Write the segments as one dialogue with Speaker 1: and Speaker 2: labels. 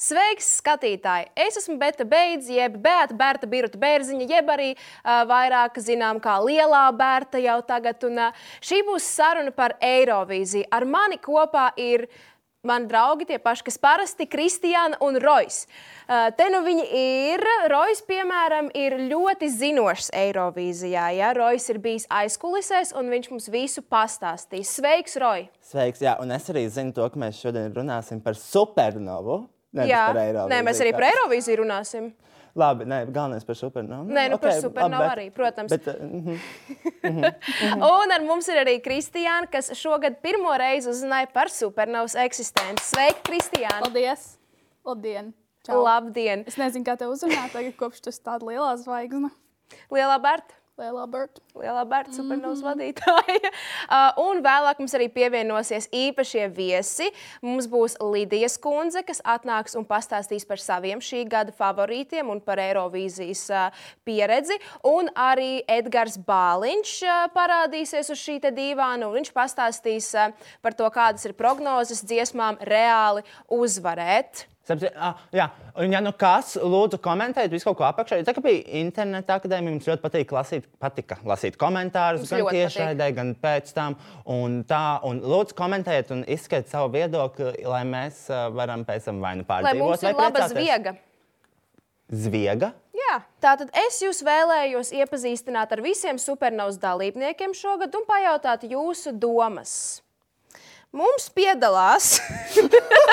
Speaker 1: Sveiks, skatītāji! Es esmu Bēta Beidz, jeb Bēta Bērta Birta Bērziņa, jeb arī uh, vairāk zinām kā Lielā Bērta jau tagad. Un, uh, šī būs saruna par Eirovīziju. Ar mani kopā ir mani draugi, tie paši, kas parasti ir Kristiāna un Rojas. Uh, te nu viņi ir. Rojas, piemēram, ir ļoti zinošs Eirovīzijā. Ja? Rojas ir bijis aizkulisēs un viņš mums visu pastāstīs. Sveiks, Rojas!
Speaker 2: Sveiks, jā, un es arī zinu to, ka mēs šodien runāsim par supernovu. Nē,
Speaker 1: Jā,
Speaker 2: par Eirovizīju,
Speaker 1: nē, mēs arī
Speaker 2: kā-
Speaker 1: par Eirovīziju runāsim.
Speaker 2: Labi, nē, galvenais par supernovu.
Speaker 1: Nē, nu par
Speaker 2: Ok,
Speaker 1: supernovu
Speaker 2: labi,
Speaker 1: arī, protams.
Speaker 2: Bet, eh, mhm.
Speaker 1: Un ar mums ir arī Kristiāna, kas šogad pirmo reizi uzzināja par supernovas eksistenci. Sveika, Kristiāna!
Speaker 3: Paldies! Labdien! Čau.
Speaker 1: Labdien!
Speaker 3: Es nezinu, kā te uzrunāt, tagad kopš tas tāds liels zvaigznes,
Speaker 1: Lielā Bērta!
Speaker 3: lielā burta.
Speaker 1: Lielā bērna supernovas vadītāja. Uh, Un vēlāk mums arī pievienosies īpašie viesi. Mums būs Lidija Skundze, kas atnāks un pastāstīs par saviem šī gada favorītiem un par Eirovīzijas uh, pieredzi. Un arī Edgars Bāliņš uh, parādīsies uz šī te divāna, un viņš pastāstīs uh, par to, kādas ir prognozes dziesmām reāli uzvarēt.
Speaker 2: Sapsi- ah, Jā, un ja nu kas, lūdzu, komentējiet visu kaut ko apakšā. Tā kā bija interneta akadēmija, mums ļoti patīk lasīt, patika lasīt komentārus,
Speaker 1: Mums
Speaker 2: gan
Speaker 1: ļoti
Speaker 2: tiešraidē, gan pēc tam. Un tā, un lūdzu, komentējiet un izskatiet savu viedokli, lai mēs eh, varam pēc tam vai nu
Speaker 1: Lai
Speaker 2: pārdzīvot,
Speaker 1: mums ir laba
Speaker 2: priecāties.
Speaker 1: zviega.
Speaker 2: Zviega?
Speaker 1: Jā, tātad es jūs vēlējos iepazīstināt ar visiem supernovas dalībniekiem šogad un pajautāt jūsu domas. Mums piedalās,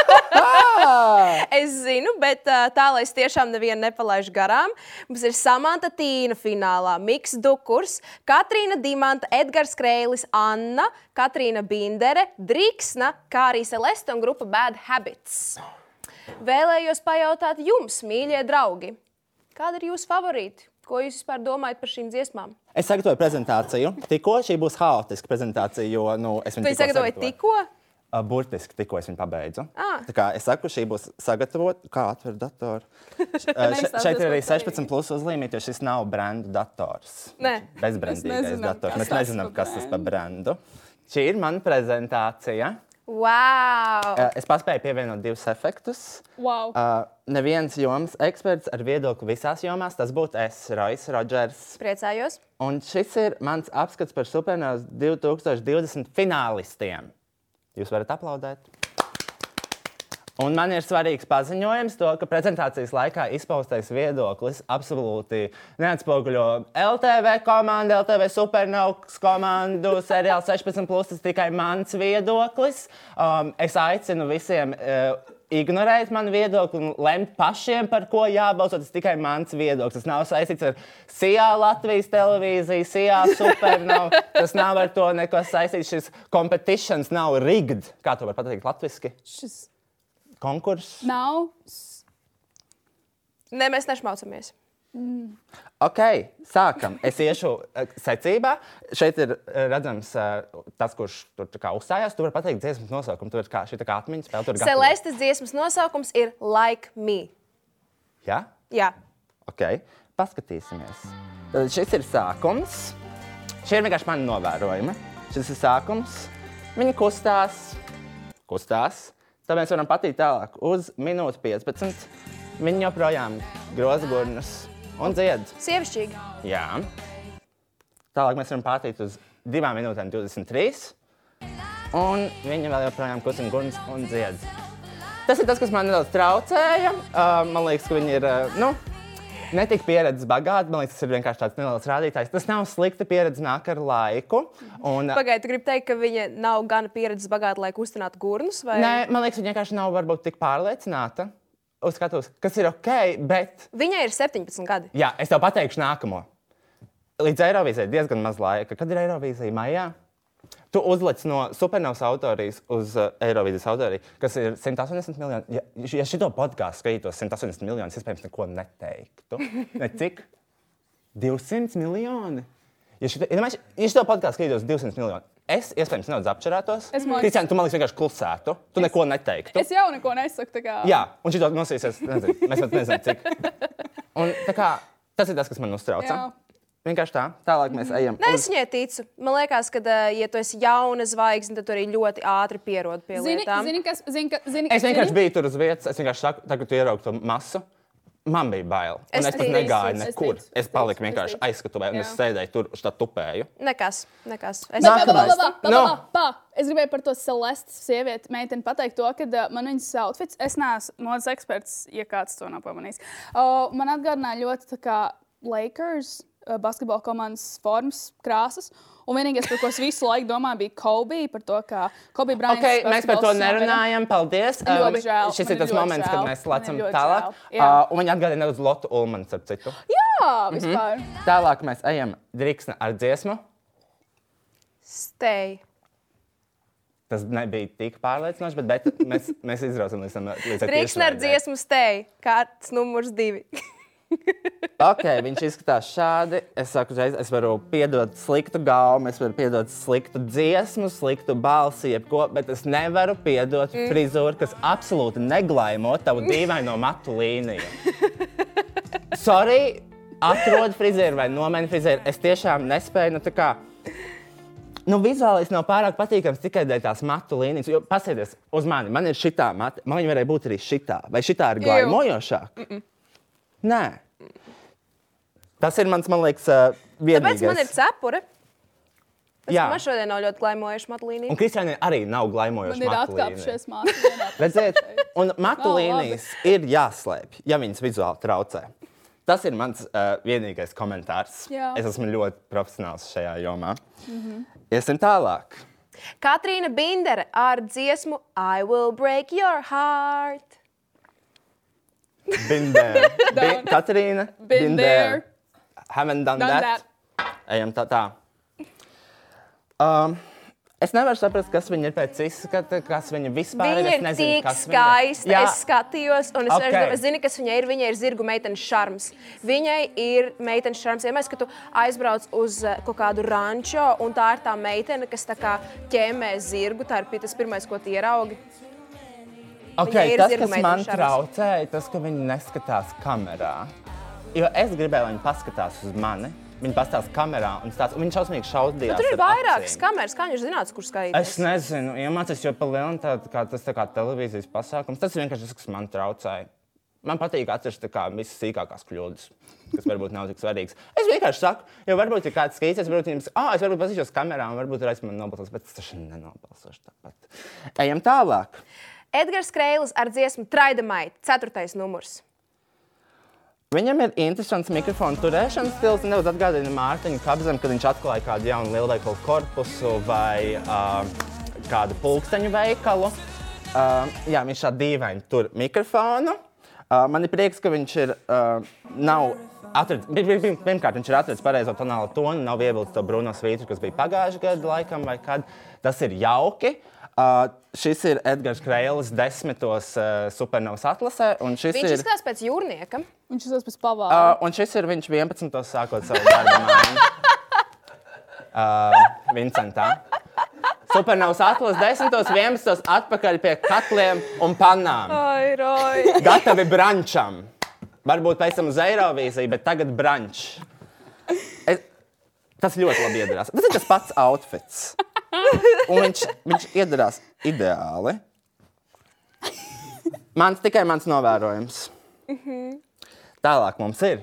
Speaker 1: es zinu, bet ā, tā, lai es tiešām nevienu nepalaidu garām, mums ir Samants Tīna finālā, Miks Dukurs, Katrīna Dimanta, Edgars Kreilis, Anna, Katrīna Bindere, Driksna, kā arī Celeste un grupa Bad Habits. Vēlējos pajautāt jums, mīļie draugi, kāda ir jūsu favorīta? Ko jūs vispār domājat par šīm dziesmām?
Speaker 2: Es sagatavoju prezentāciju. Tikko šī būs haotiska prezentācija, jo nu, es viņu
Speaker 1: Jūs sagatavojat tikko?
Speaker 2: Uh, Burtiski tikko es viņu pabeidzu.
Speaker 1: Ah.
Speaker 2: Tā kā es saku, šī būs sagatavota. Kā atver datoru? Š- uh, še-
Speaker 3: Neizstāsties
Speaker 2: šeit ir arī
Speaker 3: par sevi.
Speaker 2: 16 plus uzlīmīts, jo šis nav brandu dators.
Speaker 1: Nē.
Speaker 2: Bezbrandīgais
Speaker 3: Mēs nezinām,
Speaker 2: dators.
Speaker 3: kas
Speaker 2: Mēs
Speaker 3: tas
Speaker 2: nezinām,
Speaker 3: par
Speaker 2: kas tas par brandu. Šī ir mana prezentācija.
Speaker 1: Wow!
Speaker 2: Uh, Es paspēju pievienot divus efektus.
Speaker 3: Wow!
Speaker 2: Uh, Neviens jomas eksperts ar viedokli visās jomās, tas būtu es, Rois Rodžers.
Speaker 1: Priecājos!
Speaker 2: Un šis ir mans apskats par Supernovas 2020 finālistiem. Jūs varat aplaudēt. Un man ir svarīgs paziņojums, to, ka prezentācijas laikā izpaustais viedoklis absolūti neatspoguļo LTV komandu, LTV supernovas komandu, seriāla 16. Plus, tas tikai mans viedoklis. Um, es aicinu visiem uh, ignorēt manu viedokli un lemt pašiem, par ko jābalso. Tas tikai mans viedoklis. Tas nav saistīts ar SIA Latvijas televīziju, SIA supernovu. Tas nav ar to nekas saistīts. Šis competitions nav rigged. Kā to var pateikt latviešu?
Speaker 3: Šis
Speaker 2: konkurss.
Speaker 3: nav. s-
Speaker 1: Nē, mēs nešmaucamies.
Speaker 2: Ok, sākam. Es iešu eh, secībā. Šeit ir eh, redzams eh, tas, kurš tur tā kā uzstājās. Tu vari pateikt dziesmas nosaukumu. Tur ir kā šī tā kā atmiņas spēle. Tur ir gatava.
Speaker 1: Celestes dziesmas nosaukums ir Like Me.
Speaker 2: Jā,
Speaker 1: Jā,
Speaker 2: ok. Paskatīsimies. Tad šis ir sākums. Šie ir vienkārši mani novērojumi. Šis ir sākums. Viņi kustās. Kustās. Tad mēs varam patīt tālāk uz minūti 15. Viņi joprojām groza gurnus un dzied.
Speaker 1: sievišķīgi.
Speaker 2: Jā. Tālāk mēs varam pārtīt uz 2 minūtēm 23. Un viņa vēl joprojām kustina guns un dzied. Tas ir tas, kas man nedaudz traucēja. Uh, man liekas, ka viņi ir uh, nu, netik pieredzes bagāti. Man liekas, tas ir vienkārši tāds neliels rādītājs. Tas nav slikta pieredze, nāk ar laiku. Un, uh,
Speaker 1: Pagaidiet, gribu teikt, ka viņa nav gana pieredzes bagāta, lai kustinātu gurnus. Vai...
Speaker 2: nē, man liekas, viņa vienkārši nav varbūt tik pārliecināta. Uzskatos, kas ir ok, bet
Speaker 1: Viņai ir 17 gadi.
Speaker 2: Jā, es tev pateikšu nākamo. Līdz Eirovīzijai ir diezgan maz laika. Kad ir Eirovīzija maijā? Tu uzliec no supernovas autorijas uz uh, Eirovīzijas autoriju, kas ir 180 miljoni. Ja, ja šito podkāstu skatītos 180 miljonus, iespējams, neko neteiktu. Ne cik? 200 miljoni. Ja šito, ja mēs- ja šito podkāstu skatītos 200 miljoni, es iespējams nedaudz apšarētos.
Speaker 3: Es man liekas-
Speaker 2: Kristian, tu man liekas vienkārši klusētu. Tu neko neteiktu.
Speaker 3: Es jau neko nesaku. tā Kā...
Speaker 2: Jā, un šī nosīsies, nezinu, mēs pat nezinām, cik. Un, tā kā, tas ir tas, kas man uztrauca.
Speaker 3: Jā. Mhm.
Speaker 2: Vienkārši tā. Tālāk mēs ejam.
Speaker 1: Nē, es viņai ticu. Man liekas, ka, ā, ja tu esi jauna zvaigzne, tad tu arī ļoti ātri pierod pie
Speaker 3: Zini,
Speaker 1: lietām.
Speaker 3: zini, kas, zini, ka- zini,
Speaker 2: Es vienkārši
Speaker 3: zini?
Speaker 2: biju tur uz vietas. Es vienkārši saku, tagad tu ieraugi to masu. Man bija bail.
Speaker 1: Es
Speaker 2: Un es pat
Speaker 1: ticu,
Speaker 2: negāju
Speaker 3: es ticu,
Speaker 2: nekur.
Speaker 3: es ticu,
Speaker 2: Es paliku
Speaker 3: es
Speaker 2: vienkārši
Speaker 3: ticu.
Speaker 2: aizskatuvē, un es
Speaker 3: Jā.
Speaker 2: sēdēju tur, uz tā tupēju.
Speaker 1: Nekas, nekas. Es
Speaker 3: Bet, bet,
Speaker 2: Nākamais.
Speaker 3: bet, bet, bet,
Speaker 2: No.
Speaker 3: bet, bet, bet. Es gribēju par to Celestes sievieti, meiteni pateikt to, ka uh, man viņas outfits, es neesmu modes eksperts, ja kāds to nav pamanījis. Uh, man atgādināja ļoti tā kā Lakers uh, basketbola komandas formas, krāsas. Un vienīgais, par ko es visu laiku domāju, bija Kobe. Par to, ka Kobe Bryant.
Speaker 2: Okay, mēs par to
Speaker 3: basketbols nav vairs-
Speaker 2: nerunājam. Paldies.
Speaker 3: Man ļoti žēl,
Speaker 2: šis
Speaker 3: man
Speaker 2: ir
Speaker 3: ir
Speaker 2: tas
Speaker 3: ļoti
Speaker 2: moments, kad
Speaker 3: žēl,
Speaker 2: mēs
Speaker 3: man ir
Speaker 2: lecam
Speaker 3: ļoti
Speaker 2: tālāk.
Speaker 3: žēl, jā.
Speaker 2: Uh, un viņa atgādina nedaudz Lotu Ulmanu, starp citu.
Speaker 3: Jā,
Speaker 2: Mhm.
Speaker 3: vispār. Mm -hmm.
Speaker 2: Tālāk mēs ejam Driksna ar dziesmu.
Speaker 1: Stei.
Speaker 2: Tas nebija tik pārliecinoši, bet, bet mēs, mēs izrausim līdz tam līdz ar
Speaker 1: Trīksne ar
Speaker 2: tiešraidē.
Speaker 1: dziesmu stei. Kārts numurs divi.
Speaker 2: Okay, viņš izskatās šādi. Es saku, uzreiz, es varu piedot sliktu gaumu, es varu piedot sliktu dziesmu, sliktu balsi, jebko, bet es nevaru piedot mm. frizūru, kas absolūti neglaimo tavu dīvaino matu līniju. Sorry, atrod frizēru vai nomaini frizēru. Es tiešām nespēju. Nu, tā kā, Nu, vizuāli es nav pārāk patīkams tikai dēļ tās matu līnijas. Jo, pasēties uz mani, man ir šitā mata, man viņa varēja būt arī šitā. Vai šitā ir glaimojošāk? Nē. Tas ir mans, man liekas, ā, vienīgais.
Speaker 1: Tāpēc man ir cepure.
Speaker 2: Jā.
Speaker 1: Man šodien nav ļoti glaimojuša matlīnija.
Speaker 2: Un Kristiānai arī nav glaimojoša
Speaker 3: Man ir
Speaker 2: matu līnija.
Speaker 3: atkāpšies mākslinieks.
Speaker 2: Redziet, un matu
Speaker 3: Nav
Speaker 2: līnijas ir jāslēpj, ja viņas vizuāli traucē. Tas ir mans uh, vienīgais komentārs.
Speaker 3: Jā. Mhm.
Speaker 2: Es esmu ļoti profesionāls šajā jomā. Mm -hmm. Iesim tālāk.
Speaker 1: Katrīna Bindere ar dziesmu I will break your heart.
Speaker 2: Been there. Bi-
Speaker 3: Done.
Speaker 2: Katrīna.
Speaker 3: Been there.
Speaker 2: Haven't done,
Speaker 3: Done
Speaker 2: done that.
Speaker 3: that.
Speaker 2: Ejam tā. tā. Um, es nevaru saprast, kas viņa ir pēc izskata, kas viņa vispār
Speaker 1: Viņa
Speaker 2: Es
Speaker 1: ir
Speaker 2: nezinu,
Speaker 1: tik
Speaker 2: kas viņa ir.
Speaker 1: skaista.
Speaker 2: Jā.
Speaker 1: Es skatījos, un es
Speaker 2: Ok.
Speaker 1: okay. zinu, kas viņai ir. Viņai ir zirgu meitenes šarms. Viņai ir meitenes šarms. Vienmēr, kad tu aizbrauc uz eh, kaut kādu rančo, un tā ir tā meitene, kas tā kā ķēmē zirgu, tā ir pi- tas pirmais, ko tu ieraugi.
Speaker 2: Okay,
Speaker 1: Viņai ir
Speaker 2: tas,
Speaker 1: zirgu
Speaker 2: kas man
Speaker 1: meitenes šarms.
Speaker 2: traucēja, tas, ka viņi neskatās kamerā. Jo es gribēju, lai viņi paskatās uz mani. Viņi pastāv kamerā un stāsta, un viņi šausmīgi šaudīja.
Speaker 1: Nu, Tur ir vairākas kameras, kā viņš zināts, kur
Speaker 2: Es
Speaker 1: skatīties.
Speaker 2: nezinu, iemācījos, jo palielinu tādu kā tas tā kā televīzijas pasākums. Tas ir vienkārši tas, kas man traucēja. Man patīk atrast tā kā visas sīkākās kļūdas, kas varbūt nav tik svarīgas. Es vienkārši saku, jo varbūt ir kāds skaties, varbūt viņam, ah, es varbūt pazīšos kamerā, un varbūt reiz man nobalsos, bet es taču nenobalsošu tāpat. Ejam tālāk.
Speaker 1: Edgars Kreilis ar dziesmu Traidamai, ceturtais numurs.
Speaker 2: Viņam ir interesants mikrofona turēšanas stils. Nedaudz atgādina Mārtiņu Kabzemu, kad viņš atklāja kādu jaunu lielveikalu korpusu vai uh, kādu pulksteņu veikalu. Uh, jā, viņš šādi dīvaini tur mikrofonu. Uh, man ir prieks, ka viņš ir. Uh, nav atradis, pir- pir- pir- pirmkārt, viņš ir atradzis pareizo tonālu tonu, nav ievilcis to Bruno svītru, kas bija pagājušajā gadā, laikam, vai kad. Tas ir jauki. Uh, šis ir Edgars Kreilis, desmitos uh, supernovas atlasē. un šis
Speaker 1: Viņš
Speaker 2: ir-
Speaker 1: izskatās pēc jūrnieka.
Speaker 3: Viņš uzsācis pēc pavāra.
Speaker 2: Uh, un šis ir viņš 11. sākot savu darbu. mājiņu. Uh, Vincentā. Supernovs atlas 10. 11. atpakaļ pie katliem un pannām.
Speaker 1: Ai, roj!
Speaker 2: Gatavi brančam. Varbūt pēc tam uz Eirovīziju, bet tagad branč. Es, tas ļoti labi iedarās. Tas ir tas pats outfits. Un viņš, viņš iedarās ideāli. Mans tikai mans novērojums. Tālāk mums ir.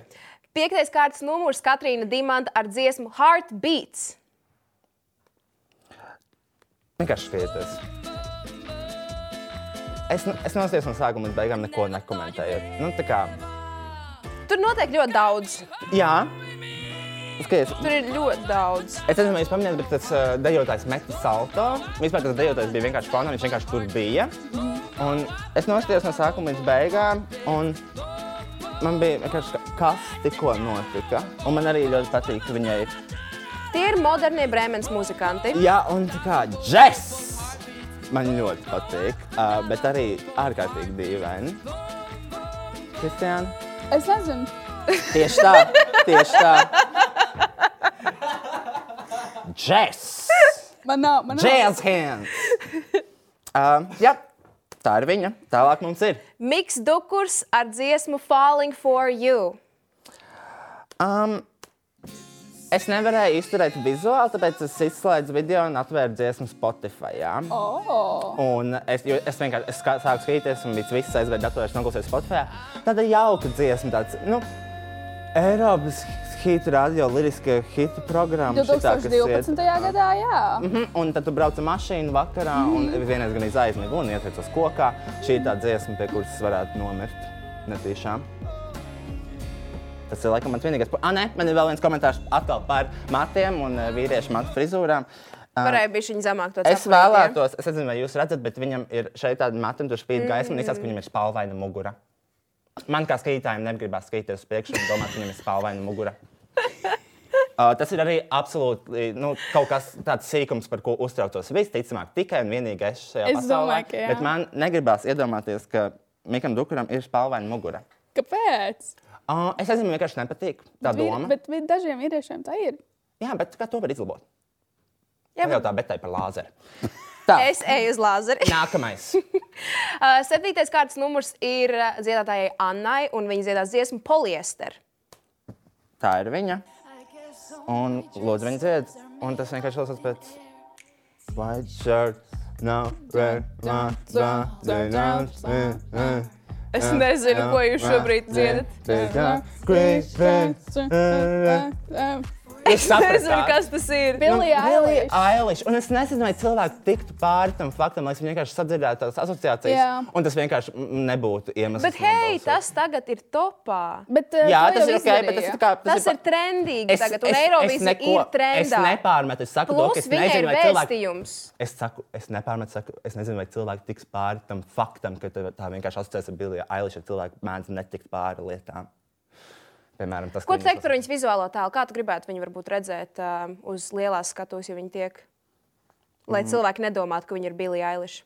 Speaker 1: Piektais kārtas numurs Katrīna Dimanta ar dziesmu Heartbeats.
Speaker 2: Vienkārši skrieties. Es, nu- es nosties no sākuma līdz beigām neko nekomentēju. Nu, tā kā,
Speaker 1: Tur notiek ļoti daudz.
Speaker 2: jā, skaties.
Speaker 1: Tur ir ļoti daudz.
Speaker 2: Es nezinu, vai jūs pamanījāt, bet tas uh, dejotājs meta salto. Vispār tas dejotājs bija vienkārši fonā, viņš vienkārši tur bija. Un es nosties no sākuma līdz beigām, un man bija vienkārši, ka- kas tikko notika. Un man arī ļoti patīk, ka viņai ir
Speaker 1: Tie ir modernie brēmenes muzikanti.
Speaker 2: Jā, un tā kā džeks man ļoti patīk, uh, bet arī ārkārtīgi dīvaini. Kristiāna,
Speaker 3: Es nezinu.
Speaker 2: tieši tā, tieši tā. Džeks!
Speaker 3: Man nav. Man nav.
Speaker 2: Jazz hands! Uh, jā, tā ir viņa. Tālāk mums ir.
Speaker 1: Miks Dukurs ar dziesmu Falling for You.
Speaker 2: Es nevarēju izturēt vizuāli, tāpēc es izslēdzu video un atvēru dziesmu Spotify. Jā.
Speaker 3: Oh.
Speaker 2: Un es, jo es vienkārši es kā- sāku skatīties, un bija viss aizvērts datorā, noklausījos Spotify. Tāda jauka dziesma, tāds nu, Eiropas hitu radio, liriska hitu programma. šitā, kas iet.
Speaker 3: 2012. gadā, jā.
Speaker 2: Mhm, Un tad tu brauc ar mašīnu vakarā, un vienreiz gan izaizmigu un ietricos kokā. Šī ir tā dziesma, pie kuras es varētu nomirt. Netīšām. Tas ir laikam mans vienīgais. Ah, nē, man ir vēl viens komentārs atkal par matiem un eh, vīriešu matu frizūrām. Ah,
Speaker 1: Varēja būt viņa zemāk. to
Speaker 2: Es
Speaker 1: saprast, ja?
Speaker 2: vēlētos, es nezinu, vai jūs redzat, bet viņam ir šeit tāda matiem, tur spīd gaisma, un izskatās, ka viņam ir spalvaina mugura. Man kā skatītājiem negribas skatīties uz priekšu un domāt, ka viņam ir spalvaina mugura. Uh, tas ir arī absolūti nu, kaut kas tāds sīkums, par ko uztraucos. Visticamāk, tikai un vienīgi es šajā
Speaker 3: Es
Speaker 2: pasaulē.
Speaker 3: domāju, ka jā.
Speaker 2: Bet man negribas iedomāties, ka Mikam Dukuram ir spalvaina mugura.
Speaker 3: Kāpēc?
Speaker 2: Uh, es nezinu, man vienkārši nepatīk tā
Speaker 3: Vīri-
Speaker 2: doma. Bet...
Speaker 3: Bet, bet dažiem vīriešiem tā ir.
Speaker 2: Jā, bet kā to var izlabot?
Speaker 1: Jā,
Speaker 2: Jā, jau tā, bet tā ir par lāzeru. Tā, es...
Speaker 1: Es eju uz lāzeri.
Speaker 2: nākamais.
Speaker 1: Uh, Septītais kārtas numurs ir uh, dziedātājai Annai, un viņa dziedās dziesmu poliester.
Speaker 2: Tā ir viņa. Un lūdzu, viņa dzied. Un tas vienkārši klausās pēc. White shirt, no red, no red,
Speaker 1: Es nezinu, ko jūs šobrīd dziedat. Es nezinu, kas tas ir.
Speaker 2: Nu,
Speaker 3: Billie Eilish.
Speaker 2: Ailish, un es nezinu, vai cilvēki tiktu pāri tam faktam, lai es vienkārši sadzirdētu tās asociācijas.
Speaker 3: Jā.
Speaker 2: Un tas vienkārši mm, nebūtu iemesls.
Speaker 1: Bet hei,
Speaker 2: nobalsot.
Speaker 1: tas tagad ir topā.
Speaker 3: Bet, eh,
Speaker 2: Jā,
Speaker 3: to
Speaker 2: tas
Speaker 3: jau
Speaker 2: ir ok, bet tas
Speaker 3: izdarīja.
Speaker 2: ir kā.
Speaker 1: Tas ir trendīgi tagad, un Eirovīzija
Speaker 2: neko-
Speaker 1: ir
Speaker 2: Es
Speaker 1: trendā.
Speaker 2: nepārmetu, es saku, to, ka
Speaker 1: Plus
Speaker 2: es
Speaker 1: viņai ir
Speaker 2: nezinu, vai cilvēki
Speaker 1: vēstījums.
Speaker 2: Es saku, es nepārmetu, saku, es nezinu, vai cilvēki tiks pāri tam faktam, ka tev tā vienkārši asociēta ar Billiju Eilish, ja cilvēki mēdz netikt pāri lietām. Piemēram, tas,
Speaker 1: Ko tu teiktu par viņas vizuālo tēlu? Kā tu gribētu viņu varbūt redzēt uh, uz lielās skatuves, ja viņi tiek? Lai mm. cilvēki nedomātu, ka viņi ir Billie Eilish.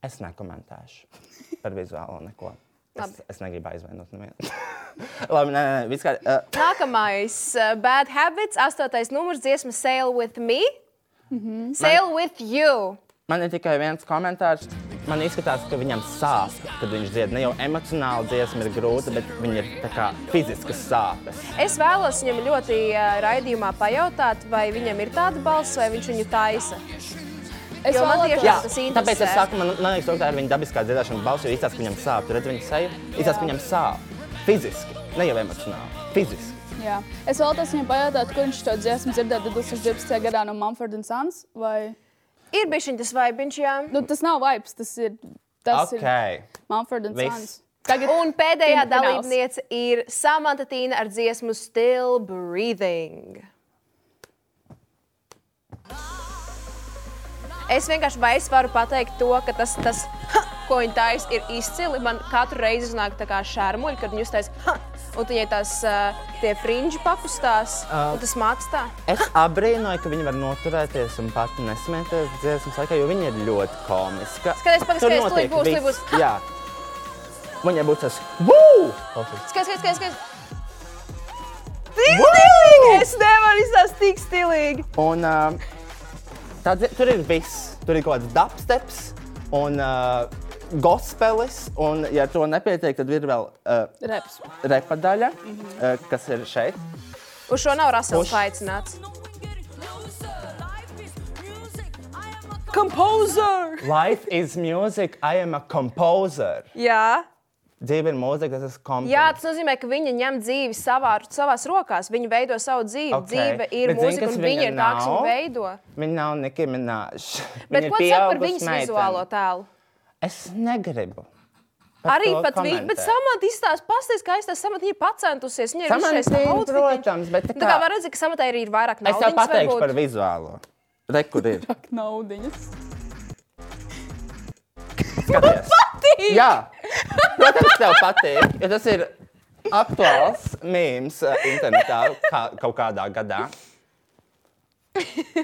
Speaker 2: Es nekomentēšu par vizuālo neko. Es,
Speaker 1: Labi.
Speaker 2: es negribu aizvainot nevienu. Labi, nē, nē, vispār. Uh,
Speaker 1: Nākamais, uh, Bad Habits, astotais numurs, dziesma Sail with Me. Mm
Speaker 2: Mhm.
Speaker 1: -hmm. Sail Man... with You.
Speaker 2: man ir tikai viens komentārs. Man izskatās, ka viņam sāp, kad viņš dzied. Ne jau emocionāli dziesma ir grūta, bet viņa ir tā kā fiziskas sāpes.
Speaker 1: Es vēlos viņam ļoti uh, raidījumā pajautāt, vai viņam ir tāda balss, vai viņš viņu taisa.
Speaker 3: Es
Speaker 1: Jo man
Speaker 3: vēlētos-
Speaker 1: tiešām-
Speaker 2: Jā,
Speaker 1: Tas interesē.
Speaker 2: tāpēc es saku, man, man liekas, tā ir viņa dabiskā dzirdēšana balss, jo izsaka, ka viņam sāp. Tur redz viņa seju, izsaka, ka viņam sāp. Fiziski, ne jau emocionāli. Fiziski.
Speaker 3: Jā. Es vēlētos viņam pajautāt, kur viņš to dziesmu dzirdēja 2012. gadā no Mumford and Sons. Vai...
Speaker 1: Ir bijis tas vibiņš, jā.
Speaker 3: Nu, tas nav vibes, tas ir, tas
Speaker 2: Ok.
Speaker 3: ir Mumford and
Speaker 2: Viss.
Speaker 3: Sons. Tagad
Speaker 1: Un pēdējā
Speaker 3: Fin- fināls.
Speaker 1: dalībniece ir Samanta Tīna ar dziesmu Still Breathing. Es vienkārši vai es varu pateikt to, ka tas, tas ko viņa taisa, ir izcili. Man katru reizi iznāk tā kā šārmuļi, kad viņa taisa, un viņai tās uh, tie frinži pakustās,
Speaker 2: Ah.
Speaker 1: un tas mākstā.
Speaker 2: Es abrīnoju, ka viņi var noturēties un pati nesmieties dziesmas laikā, jo viņi ir ļoti komiski.
Speaker 1: Skaties, pagaid, skaties, tūlīt būs, tūlīt būs.
Speaker 2: Jā, viņai būs tas wow! Klausies.
Speaker 1: Skaties, skaties, skaties! Tik stilīgi! Es nevaru izstāstīt tik stilīgi!
Speaker 2: Un uh, tā, dzi- tur ir viss. Tur ir kaut kāds dubsteps un uh, gospelis. Un, ja ar to nepietiek, tad ir vēl uh,
Speaker 3: reps.
Speaker 2: repa daļa, mm -hmm. uh, kas ir šeit.
Speaker 1: Uz šo nav
Speaker 2: Uz-
Speaker 1: rasels aicināts.
Speaker 4: Compose.
Speaker 1: Composer!
Speaker 2: Life is music, I am a composer.
Speaker 1: Jā.
Speaker 2: Dzīve ir mūzika, tas ir kompozīcija.
Speaker 1: Jā, tas nozīmē, ka viņa ņem dzīvi savā, savās rokās. Viņa veido savu dzīvi.
Speaker 2: Ok.
Speaker 1: Okay. Dzīve ir
Speaker 2: Bet zini,
Speaker 1: mūzika,
Speaker 2: kas
Speaker 1: un
Speaker 2: viņa
Speaker 1: viņa ir tā, kas
Speaker 2: nav?
Speaker 1: viņu veido.
Speaker 2: Viņa nav nekā minēta.
Speaker 1: Bet ko tu saki par viņas meitene. vizuālo tēlu?
Speaker 2: Es negribu. par
Speaker 1: Arī
Speaker 2: to
Speaker 1: pat viņa, bet
Speaker 2: komentēt.
Speaker 1: samantā izstāsta, pastāstiet, kā aizstāsta samantā. Viņa ir pacentusies, viņa ir
Speaker 2: Samanta
Speaker 1: izšķērusi
Speaker 2: ir,
Speaker 1: outfitiņu.
Speaker 2: protams, bet tā
Speaker 1: Nu, tā kā
Speaker 2: kā-
Speaker 1: var redzēt, ka samantā ir ir vairāk
Speaker 2: Es tev
Speaker 1: naudas.
Speaker 2: pateikšu par vizuālo. Re, kur ir?
Speaker 3: Naudiņas.
Speaker 2: Skaties. Jā, protams, tev patīk. Jo tas ir eh, aktuāls mīmīms internetā kā, kaut kādā gadā.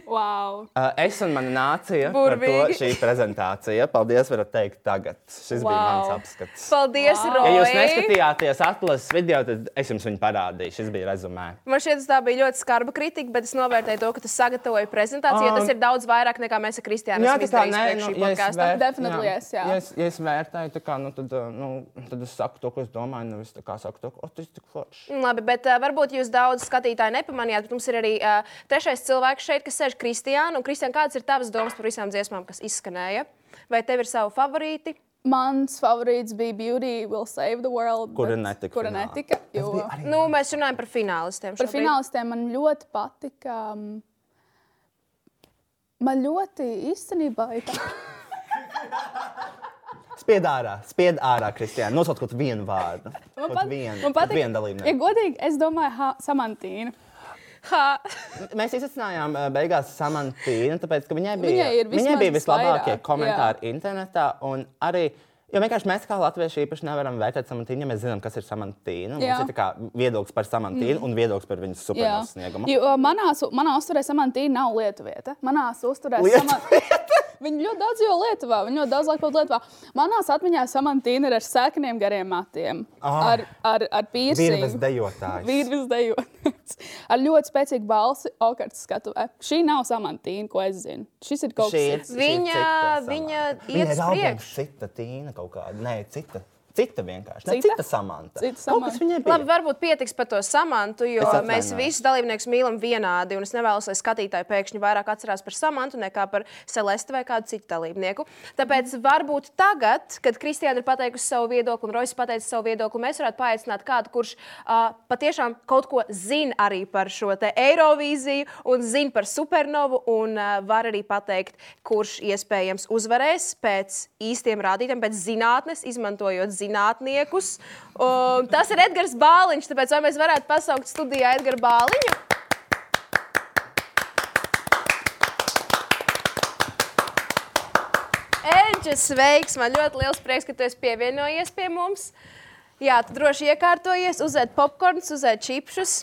Speaker 3: Wow.
Speaker 2: Uh, es un mana nācija par to
Speaker 1: Burvīgi.
Speaker 2: šī prezentācija. Paldies, varat teikt tagad. Šis wow. bija
Speaker 3: Wow.
Speaker 2: mans apskats.
Speaker 1: Paldies, wow.
Speaker 2: Ja jūs
Speaker 1: Roja!
Speaker 2: neskatījāties atlases video, tad es jums viņu parādīju. Šis bija rezumē.
Speaker 1: Man šķiet, tas tā bija ļoti skarba kritika, bet es novērtēju to, ka tu sagatavoji prezentāciju. Um,
Speaker 2: Um,
Speaker 1: tas ir daudz vairāk nekā mēs ar Kristiānu
Speaker 2: Jā,
Speaker 1: esam
Speaker 2: tā kā
Speaker 1: izdarījuši
Speaker 2: nē,
Speaker 1: priekš šī
Speaker 2: nu, ja es
Speaker 1: podkāsta.
Speaker 2: vērt-
Speaker 3: Definitely yes, jā.
Speaker 2: Ja es, ja es vērtēju, tā kā, nu, tad, uh, nu, tad es saku to, ko es domāju. Nevis tā kā saku to, ko tas ir tik forši.
Speaker 1: Labi, bet uh, varbūt jūs daudz skatītāju nepamanījāt, bet mums ir arī uh, trešais cilvēks šeit, kas sēž Kristiāna. Un, Kristiāna, kādas ir tavas domas par visām dziesmām, kas izskanēja? Vai tev ir savi favorīti?
Speaker 3: Mans favorīts bija Beauty Will Save the World.
Speaker 2: Kura
Speaker 3: bet-
Speaker 2: netika
Speaker 3: Kura
Speaker 2: finālā.
Speaker 3: netika. Jo...
Speaker 2: bija arī-
Speaker 1: Nu, mēs runājam par finālistiem.
Speaker 3: Par
Speaker 1: šobrīd.
Speaker 3: finālistiem man ļoti patika. um, Man ļoti īstenībā ir tā.
Speaker 2: Spied ārā, spied ārā, Kristija. Nosauc kaut vienu vārdu.
Speaker 3: Man,
Speaker 2: Kaut vienu,
Speaker 3: man
Speaker 2: kaut
Speaker 3: patika,
Speaker 2: vienu dalībnieku.
Speaker 3: ja godīgi, es domāju, ha, Samantīna.
Speaker 1: Ha!
Speaker 2: Mēs izsacījām beigās Samantīnu, tāpēc, ka viņai bija,
Speaker 3: Viņai ir
Speaker 2: viņai
Speaker 3: vismaz
Speaker 2: bija vislabākie
Speaker 3: vairāk,
Speaker 2: komentāri jā. internetā. un Arī, jo vienkārši mēs kā latvieši īpaši nevaram vērtēt Samantīnu, ja mēs zinām, kas ir Samantīna. un
Speaker 3: Jā.
Speaker 2: Mums ir tā kā viedoklis par Samantīnu mm. un viedoklis par viņas supernovasniegumu.
Speaker 3: Jo uh, manā, manā uzturē Samantīna nav lietuvieta. Manā uzturē
Speaker 2: Lietu
Speaker 3: Samantīna. Viņa ļoti daudz jau Lietuvā, viņa ļoti daudz laika pavadīja Lietuvā. Manā atmiņā Samantīna ir ar sēkniem gariem matiem,
Speaker 2: Ah.
Speaker 3: ar, ar, ar
Speaker 2: Virves
Speaker 3: pīrāgu.
Speaker 2: dejotājs.
Speaker 3: Vīrvis dejojas ar ļoti spēcīgu balsi, okarts skatuvē. Šī nav samantīna, ko es zinu. Šis ir kaut
Speaker 2: Šī ir-
Speaker 3: kas
Speaker 2: šī ir
Speaker 1: Viņa-
Speaker 2: cita Samantīna.
Speaker 1: viņa iet
Speaker 2: Viņai ir
Speaker 1: uz
Speaker 2: albums
Speaker 1: priekšu.
Speaker 2: Cita tīna kaut kāda. Nē, cita. Cita vienkārši. Cita, ne,
Speaker 3: Cita?
Speaker 2: cita samanta.
Speaker 3: Cita
Speaker 2: Kaut kas
Speaker 3: Samanta.
Speaker 2: viņai bija.
Speaker 1: Labi, varbūt pietiks par to samantu, jo
Speaker 2: Es
Speaker 1: mēs
Speaker 2: atvainojos.
Speaker 1: visus dalībniekus mīlam vienādi. un Es nevēlos, lai skatītāji pēkšņi vairāk atcerās par samantu nekā par Celeste vai kādu citu dalībnieku. Tāpēc varbūt tagad, kad Kristiāna ir pateikusi savu viedokli un Roisas pateicis savu viedokli, mēs varētu paaicināt kādu, kurš uh, patiešām kaut ko zina arī par šo te Eirovīziju un zina par supernovu un uh, var arī pateikt, kurš iespējams uzvarēs pēc īstiem rādītājiem, pēc zinātnes, izmantojot zinātniekus. Um, tas ir Edgars Bāliņš, tāpēc vai mēs varētu pasaukt studijā Edgars Bāliņu? Edža, sveiks! Man ļoti liels prieks, ka tu esi pievienojies pie mums. Jā, tu droši iekārtojies, uzēd popkornus, uzēd čipšus.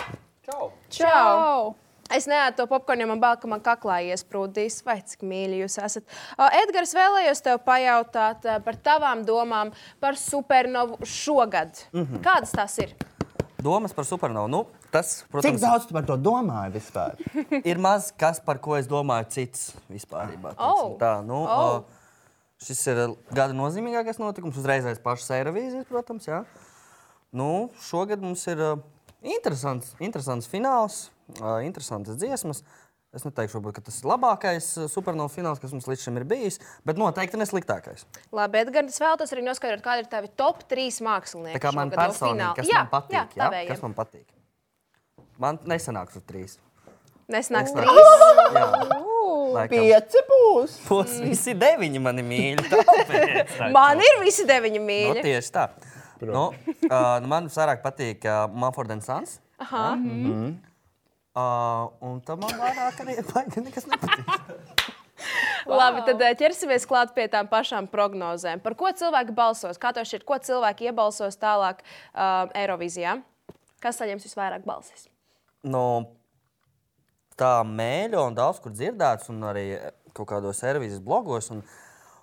Speaker 2: Čau.
Speaker 1: Čau! Es neēdu to popkornu, jo man bail, ka man kaklā iesprūdīs. Vai cik mīļi jūs esat? O, Edgars, vēlējos tev pajautāt ā, par tavām domām par supernovu šogad. Mm
Speaker 4: Mhm.
Speaker 1: -hmm. Kādas tās ir?
Speaker 4: Domas par supernovu. Nu, tas,
Speaker 2: Cik
Speaker 4: protams,
Speaker 2: daudz tu par to domāji vispār?
Speaker 4: ir maz kas, par ko es domāju, cits vispār. teiksim
Speaker 1: Oh.
Speaker 4: Tā, nu,
Speaker 1: Oh.
Speaker 4: oh. Šis ir uh, gada nozīmīgākais notikums, uzreiz aiz pašas Eirovīzijas, protams. Jā. Nu, šogad mums ir uh, interesants, interesants fināls, uh, interesantas dziesmas. Es neteikšu, varbūt, ka tas ir labākais uh, supernovas fināls, kas mums līdz šim ir bijis, bet noteikti nesliktākais.
Speaker 1: Labi, Edgars, es vēlos arī noskaidrot, kāda ir tava top 3 mākslinieka.
Speaker 4: Tā kā man personīgi, kas
Speaker 1: jā,
Speaker 4: man patīk,
Speaker 1: jā,
Speaker 4: jā,
Speaker 1: tavējiem.
Speaker 4: kas man patīk. Man nesanāks ar trīs.
Speaker 1: Nesnāks
Speaker 4: Nesnāk.
Speaker 1: trīs. Mm.
Speaker 4: Jā. Laikam.
Speaker 2: Pieci būs.
Speaker 4: Būs visi deviņi mani mīļi. Tāpēc, tā.
Speaker 1: Man ir visi deviņi
Speaker 4: nu,
Speaker 1: mīļi.
Speaker 4: tieši tā. Nu, uh, nu, man vairāk patīk uh, Manford and Sons.
Speaker 1: Aha.
Speaker 4: Uh, un tam man vairāk arī baigi nekas nepatīk.
Speaker 1: Labi, tad ā, ķersimies klāt pie tām pašām prognozēm. Par ko cilvēki balsos? Kā tev šķiet, ko cilvēki iebalsos tālāk um, Eirovizijā? Kas saņems visvairāk balsis?
Speaker 4: Nu, tā mēļo un daudz kur dzirdēts, un arī kaut kādos servīzes blogos. Un,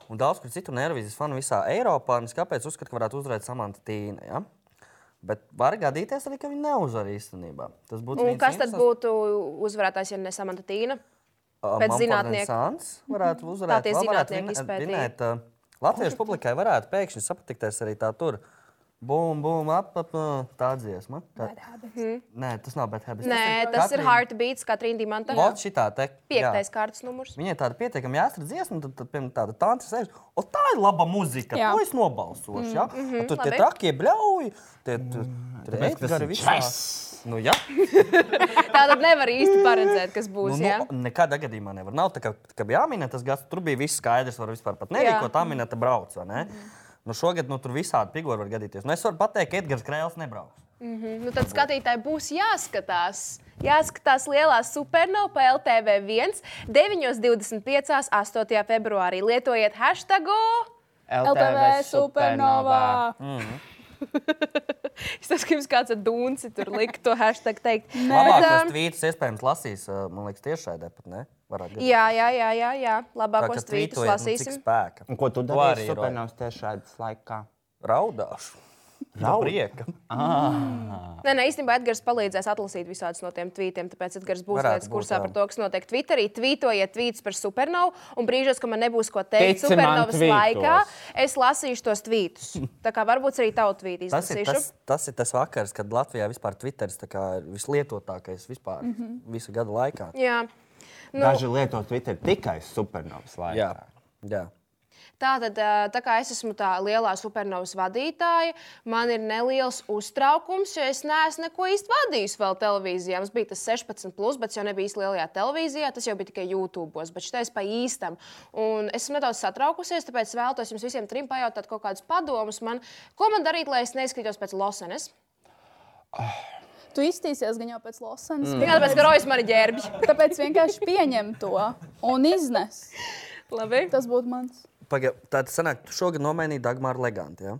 Speaker 4: un daudz kur citur nervīzes fanu visā Eiropā. un Es kāpēc uzskatu, ka varētu uzvarēt Samanta Tīna. Ja? Bet var gadīties arī, ka viņi neuzvar īstenībā. Tas būtu
Speaker 1: Un
Speaker 4: viens
Speaker 1: kas tad
Speaker 4: interesants-
Speaker 1: būtu uzvarētājs, ja ne Samanta Tīna?
Speaker 4: Uh,
Speaker 1: Pēc
Speaker 4: Mumford
Speaker 1: zinātnieku.
Speaker 4: and Sons varētu uzvarēt.
Speaker 1: tie
Speaker 4: vēl varētu
Speaker 1: zinātnieki
Speaker 4: vinē-
Speaker 1: izpētīja.
Speaker 4: vinēt, uh, Latviešu publikai varētu pēkšņi sapatikties arī tā tur. Bum, bum, ap, ap, uh, tā dziesma. Tā... Nē, tas nav bet habits.
Speaker 1: Mhm. Nē, tas ir Heartbeats, kā Trīsdī Manta.
Speaker 4: Lūk, šitā te.
Speaker 1: Piektais kārtas numurs.
Speaker 4: Viņai tāda pietiekami jāstrādā dziesma, tad, tad piemēram, tāda tāda sēž. O, tā ir laba muzika,
Speaker 3: Jā.
Speaker 4: jā. ko es nobalsošu. Mm, ja? mm, tur tie
Speaker 1: mhm, labi. Mm,
Speaker 4: trakie bļauji, tie tur tur
Speaker 2: tāpēc, ka tas
Speaker 4: meitgari
Speaker 2: ir
Speaker 4: visā. Nu, jā.
Speaker 1: Tā tad nevar īsti paredzēt, kas
Speaker 4: Nu,
Speaker 1: būs. jā?
Speaker 4: nu, nekādā gadījumā nevar. Nav tā, ka, ka bija jāmina tas gads, tur bija viss skaidrs, var vispār pat nerīko, tā minēta te brauc. vai Ne? Nu, šogad nu, tur visādi figūri var gadīties. Nu, es varu pateikt, ka Edgars Krēls nebrauks.
Speaker 1: Nu, tad skatītāji būs jāskatās. Jāskatās lielā supernovā PLTV 1, 9.25. 8. februārī. Lietojiet hashtag!
Speaker 3: LTV supernovā.
Speaker 1: Es saprotu, ka jums kāds ar dūnci tur likt to hashtag teikt.
Speaker 4: Labākos
Speaker 1: um,
Speaker 4: tvītus iespējams lasīs, ā, man liekas, tiešai pat ne. Varētu gadīt.
Speaker 1: jā, jā, jā, jā, jā.
Speaker 4: Tā, ka
Speaker 1: labākos tvītus
Speaker 4: tvītojiet, nu, Cik
Speaker 1: lasīsim.
Speaker 4: spēka?
Speaker 2: Un ko tu
Speaker 4: To
Speaker 2: dari?
Speaker 4: arī ir
Speaker 2: Supernovs tieši šādas laikā.
Speaker 4: Raudāšu. No
Speaker 2: Raud?
Speaker 4: prieka.
Speaker 1: Nē, nē, īstenībā Edgars palīdzēs atlasīt visādus no tiem tvītiem. Tāpēc Edgars būs
Speaker 4: Varētu
Speaker 1: lietas
Speaker 4: būt,
Speaker 1: kursā
Speaker 4: jā.
Speaker 1: par to, kas notiek Twitterī. Tvītojiet tvītus par supernovu, un brīžos, kad man nebūs ko teikt
Speaker 2: Tici man
Speaker 1: supernovas
Speaker 2: tvītos.
Speaker 1: laikā, es lasīšu tos tvītus. Tā kā varbūt arī tavu tvītu
Speaker 4: Tas ir tas,
Speaker 1: izlasīšu.
Speaker 4: tas ir tas vakars, kad Latvijā vispār Twitteris tā kā ir vislietotākais vispār mm
Speaker 1: Mhm.
Speaker 4: -hmm. visu gadu laikā.
Speaker 1: Jā.
Speaker 2: Nu, Daži lieto Twitter tikai supernovs laikā.
Speaker 4: Jā. Jā.
Speaker 1: Tātad, ā, tā kā es esmu tā lielā supernovas vadītāja, man ir neliels uztraukums, jo es neesmu neko īsti vadījis vēl televīzijā. Mums bija tas 16, plus, bet tas jau nebija īsti lielajā televīzijā, tas jau bija tikai YouTube. Bet šitais pa īstam. Un es esmu nedaudz satraukusies, tāpēc vēlos jums visiem trim pajautāt kaut kādus padomus, man, ko man darīt, lai es neizskatītos pēc Losenes.
Speaker 3: Tu iztīsies gan jau pēc Losanas.
Speaker 2: Mm.
Speaker 1: Tikai tāpēc, ka Rojas man ir ģērbis.
Speaker 3: Tāpēc vienkārši pieņem to un iznes.
Speaker 1: Labi.
Speaker 3: Tas būtu mans.
Speaker 4: Paga, tā tas sanāk, tu šogad nomainīji Dagmāru Legantu. Ja?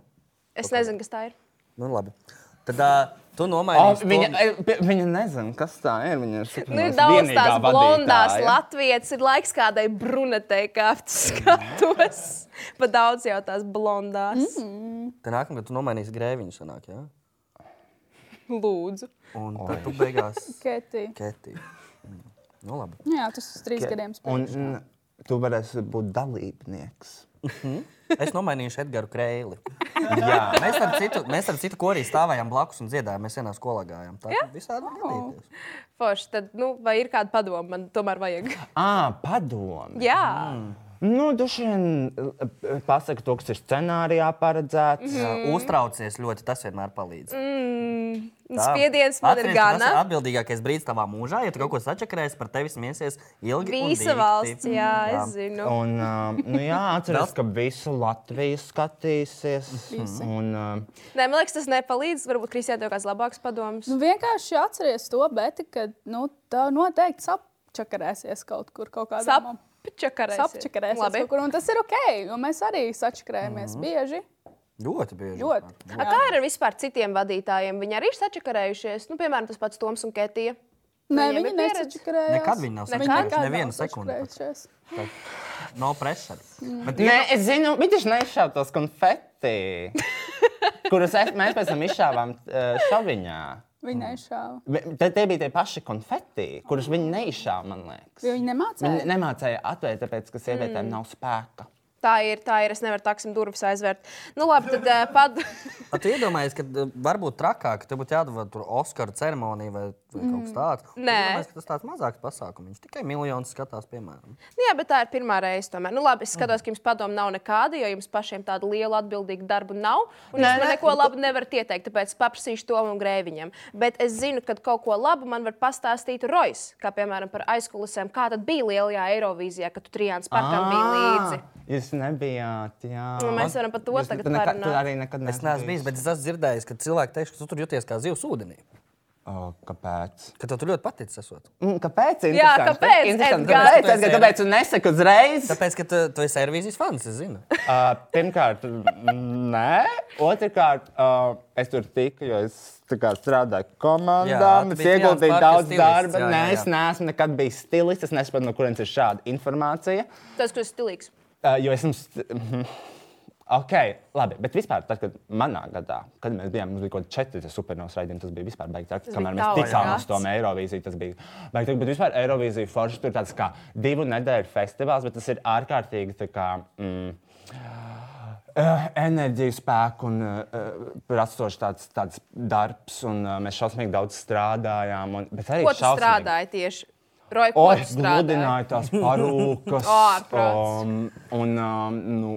Speaker 1: Es nezinu, kas tā ir.
Speaker 4: Nu, labi. Tad uh, tu
Speaker 2: O,
Speaker 4: nomainīji.
Speaker 2: viņa, e, pie- viņa nezina, kas tā ir. Viņa
Speaker 1: Nu, ir
Speaker 2: ir supernovas
Speaker 1: daudz
Speaker 2: vienīgā
Speaker 1: tās blondās
Speaker 2: vadītāja.
Speaker 1: latvijas, ir laiks kādai brunetei, kā skatos. Pa daudz jau tās blondās. Mm.
Speaker 4: Tad nākamā gada tu nomainīsi grēviņu. Sanāk, ja?
Speaker 1: Lūdzu.
Speaker 4: Un tad tu beigās
Speaker 3: Ketī.
Speaker 4: Ketī. Nu, labi.
Speaker 3: Nu Jā, tas uz trīs gadiem
Speaker 2: Un
Speaker 3: spēļ.
Speaker 2: mm, tu varēsi būt dalībnieks.
Speaker 4: Es nomainīšu Edgars Kreili.
Speaker 2: Jā.
Speaker 4: Mēs ar citu, mēs ar citu korī stāvējām blakus un dziedājām. Mēs vienā skolā gājām. Tā ir visādi gadīties.
Speaker 1: Oh. Forši, tad, nu, vai ir kāda padoma? Man tomēr vajag.
Speaker 2: À, padomu.
Speaker 1: Jā,
Speaker 2: Nu, dušiņ, pasaka to, kas ir scenārijā paredzēts.
Speaker 4: Jā,
Speaker 1: Mhm.
Speaker 4: Uztraucies ļoti, tas vienmēr palīdz. Mm,
Speaker 1: Un spiediens man ir
Speaker 4: Tas ir
Speaker 1: gana.
Speaker 4: atbildīgākais brīdis tavā mūžā, ja tu kaut ko sačakarēsi par tevi smieties ilgi. un
Speaker 1: Visa
Speaker 4: dikti.
Speaker 1: valsts, jā, es zinu.
Speaker 2: Un, uh, nu, jā, atceros, ka visu Latviju skatīsies. Un, uh,
Speaker 1: Nē, man liekas, tas nepalīdz. Varbūt Kristija tev kāds labāks padoms.
Speaker 3: Nu, vienkārši atceries to, bet kad nu, tā noteikti sapčakarēsies kaut kur. Kaut kādā mom-
Speaker 1: Sapčakarēs.
Speaker 3: Sapčakarēsies
Speaker 1: Labi.
Speaker 3: kaut kur, un tas ir ok, jo mēs arī
Speaker 2: Mhm.
Speaker 3: sačakarējamies bieži.
Speaker 4: Ļoti bieži.
Speaker 3: Ļoti.
Speaker 1: A, kā ir ar vispār citiem vadītājiem? Viņi arī ir sačakarējušies. Nu, piemēram, tas pats Toms un Ketija.
Speaker 3: Nē,
Speaker 1: Viņiem
Speaker 3: viņi
Speaker 1: ir pieredze?
Speaker 3: nesačakarējās.
Speaker 4: Nekad viņi nav
Speaker 1: Nekad?
Speaker 4: sačakarējuši.
Speaker 3: Nekad
Speaker 4: Nevienu
Speaker 3: nav
Speaker 4: sekundi. pat.
Speaker 3: sačakarējušies.
Speaker 4: Nav pressure. Bet
Speaker 2: nē, es zinu, viņi taču neizšāva tos konfeti, kurus es, mēs pēc tam izšāvām uh, šaviņā.
Speaker 3: Viņi
Speaker 2: Mm.
Speaker 3: neizšāva.
Speaker 2: Ve- Te, te bija tie paši konfeti, kurus viņi neizšāva, man liekas.
Speaker 3: Jo viņi
Speaker 2: Viņi
Speaker 3: nemācīja.
Speaker 2: nemācīja atvērt, tāpēc, ka sievietēm mm. nav spēka.
Speaker 1: Tā ir, tā ir. Es nevaru tāksim durvis aizvērt. Nu, labi, tad ā, pad...
Speaker 4: Bet tu iedomājies, ka uh, varbūt trakāk, ka tev būtu jādod tur Oskara ceremonija vai, vai kaut kas tāds. Tu
Speaker 1: Mm. Nē.
Speaker 4: iedomājies, ka Tas tāds mazāks pasākums. Viņš tikai miljonus skatās, piemēram.
Speaker 1: Nu, jā, bet tā ir pirmā reize. Tomēr. Nu, labi, es skatos, ka jums padomu nav nekāda, jo jums pašiem tādu lielu atbildīgu darbu nav. Un jūs man neko labu nevarat ieteikt, tāpēc paprasīšu to un grēviņam. Bet es zinu, ka kaut ko labu man var pastāstīt Rojas, kā piemēram par aizkulisēm, kā tad bija lielajā Eirovīzijā, kad tu trijāns parkam biji līdzi.
Speaker 2: Ā, Jūs nebijāt, jā.
Speaker 1: Nu, mēs varam par to
Speaker 2: Jūs
Speaker 1: tagad
Speaker 2: tu nekad- tu
Speaker 1: parunāt.
Speaker 2: arī nekad
Speaker 4: Es neesmu bijis, bet es esmu dzirdējis, ka cilvēki teiks, ka tu tur jūties kā zivs ūdenī.
Speaker 2: O, kāpēc?
Speaker 4: Ka tev tur ļoti patīk esot.
Speaker 2: Mm, Kāpēc?
Speaker 1: Jā,
Speaker 2: Interesanti.
Speaker 1: kāpēc,
Speaker 2: Interesanti.
Speaker 1: Edgars?
Speaker 2: Kāpēc, Edgar, kāpēc tu nesaki uzreiz?
Speaker 4: Tāpēc, ka tu, tu esi aerobīzijas fans, es zinu.
Speaker 2: Uh, pirmkārt, nē. Otrakārt, uh, es tur tiku, jo es tā kā, strādāju komandā.
Speaker 4: Jā, tu
Speaker 2: Es
Speaker 4: biji Jānis
Speaker 2: ieguldīju
Speaker 4: Parkers
Speaker 2: daudz
Speaker 4: stilists,
Speaker 2: darba.
Speaker 4: jā, jā,
Speaker 2: Nē,
Speaker 4: jā.
Speaker 2: es neesmu nekad bijis stilists. Es nesaprotu, no kurienes ir šāda informācija.
Speaker 1: Tas, kas ir stilīgs.
Speaker 2: Uh, jo esmu. st- Mhm. Ok, labi, bet vispār, tad, kad manā gadā, kad mēs bijām, mums bija kaut kādi četri supernovas raidījumi, tas bija vispār baigi. traki,
Speaker 1: Tas
Speaker 2: Kamēr
Speaker 1: bija
Speaker 2: mēs
Speaker 1: tavs
Speaker 2: tikām uz
Speaker 1: gads.
Speaker 2: to Eirovīziju, tas bija baigi. traki, Bet vispār Eirovīzija forši tur ir tāds kā divu nedēļu festivāls, bet tas ir ārkārtīgi tā kā. Mm, Uh, enerģiju, spēku un uh, prasošs tāds, tāds darbs, un uh, mēs šausmīgi daudz strādājām. Un, bet arī
Speaker 1: Ko tu
Speaker 2: šausmīgi-
Speaker 1: strādāji tieši? Roja, ko
Speaker 2: Oi,
Speaker 1: tu strādāji?
Speaker 2: gludināju tās parūkas.
Speaker 1: Ārprāts.
Speaker 2: um, un um, nu,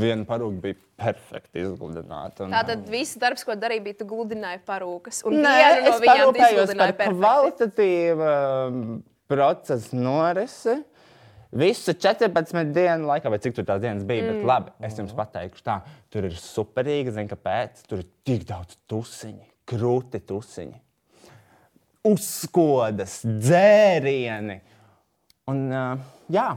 Speaker 2: viena parūka bija perfekti izgludināta. un,
Speaker 1: Tātad viss darbs, ko darīja, bija tu gludināji parūkas. Un
Speaker 2: um, Nē,
Speaker 1: vienu no viņām
Speaker 2: es
Speaker 1: tu
Speaker 2: parūpējos par
Speaker 1: izgludināji perfekti.
Speaker 2: kvalitatīvu um, procesu norisi. Visu 14 dienu laikā, vai cik tur tās dienas bija, mm. bet labi, es jums pateikšu, tā tur ir superīga. Zinu, kāpēc tur ir tik daudz tusiņu, krūti tusiņi, uzkodas, dzērieni. Un, uh, jā,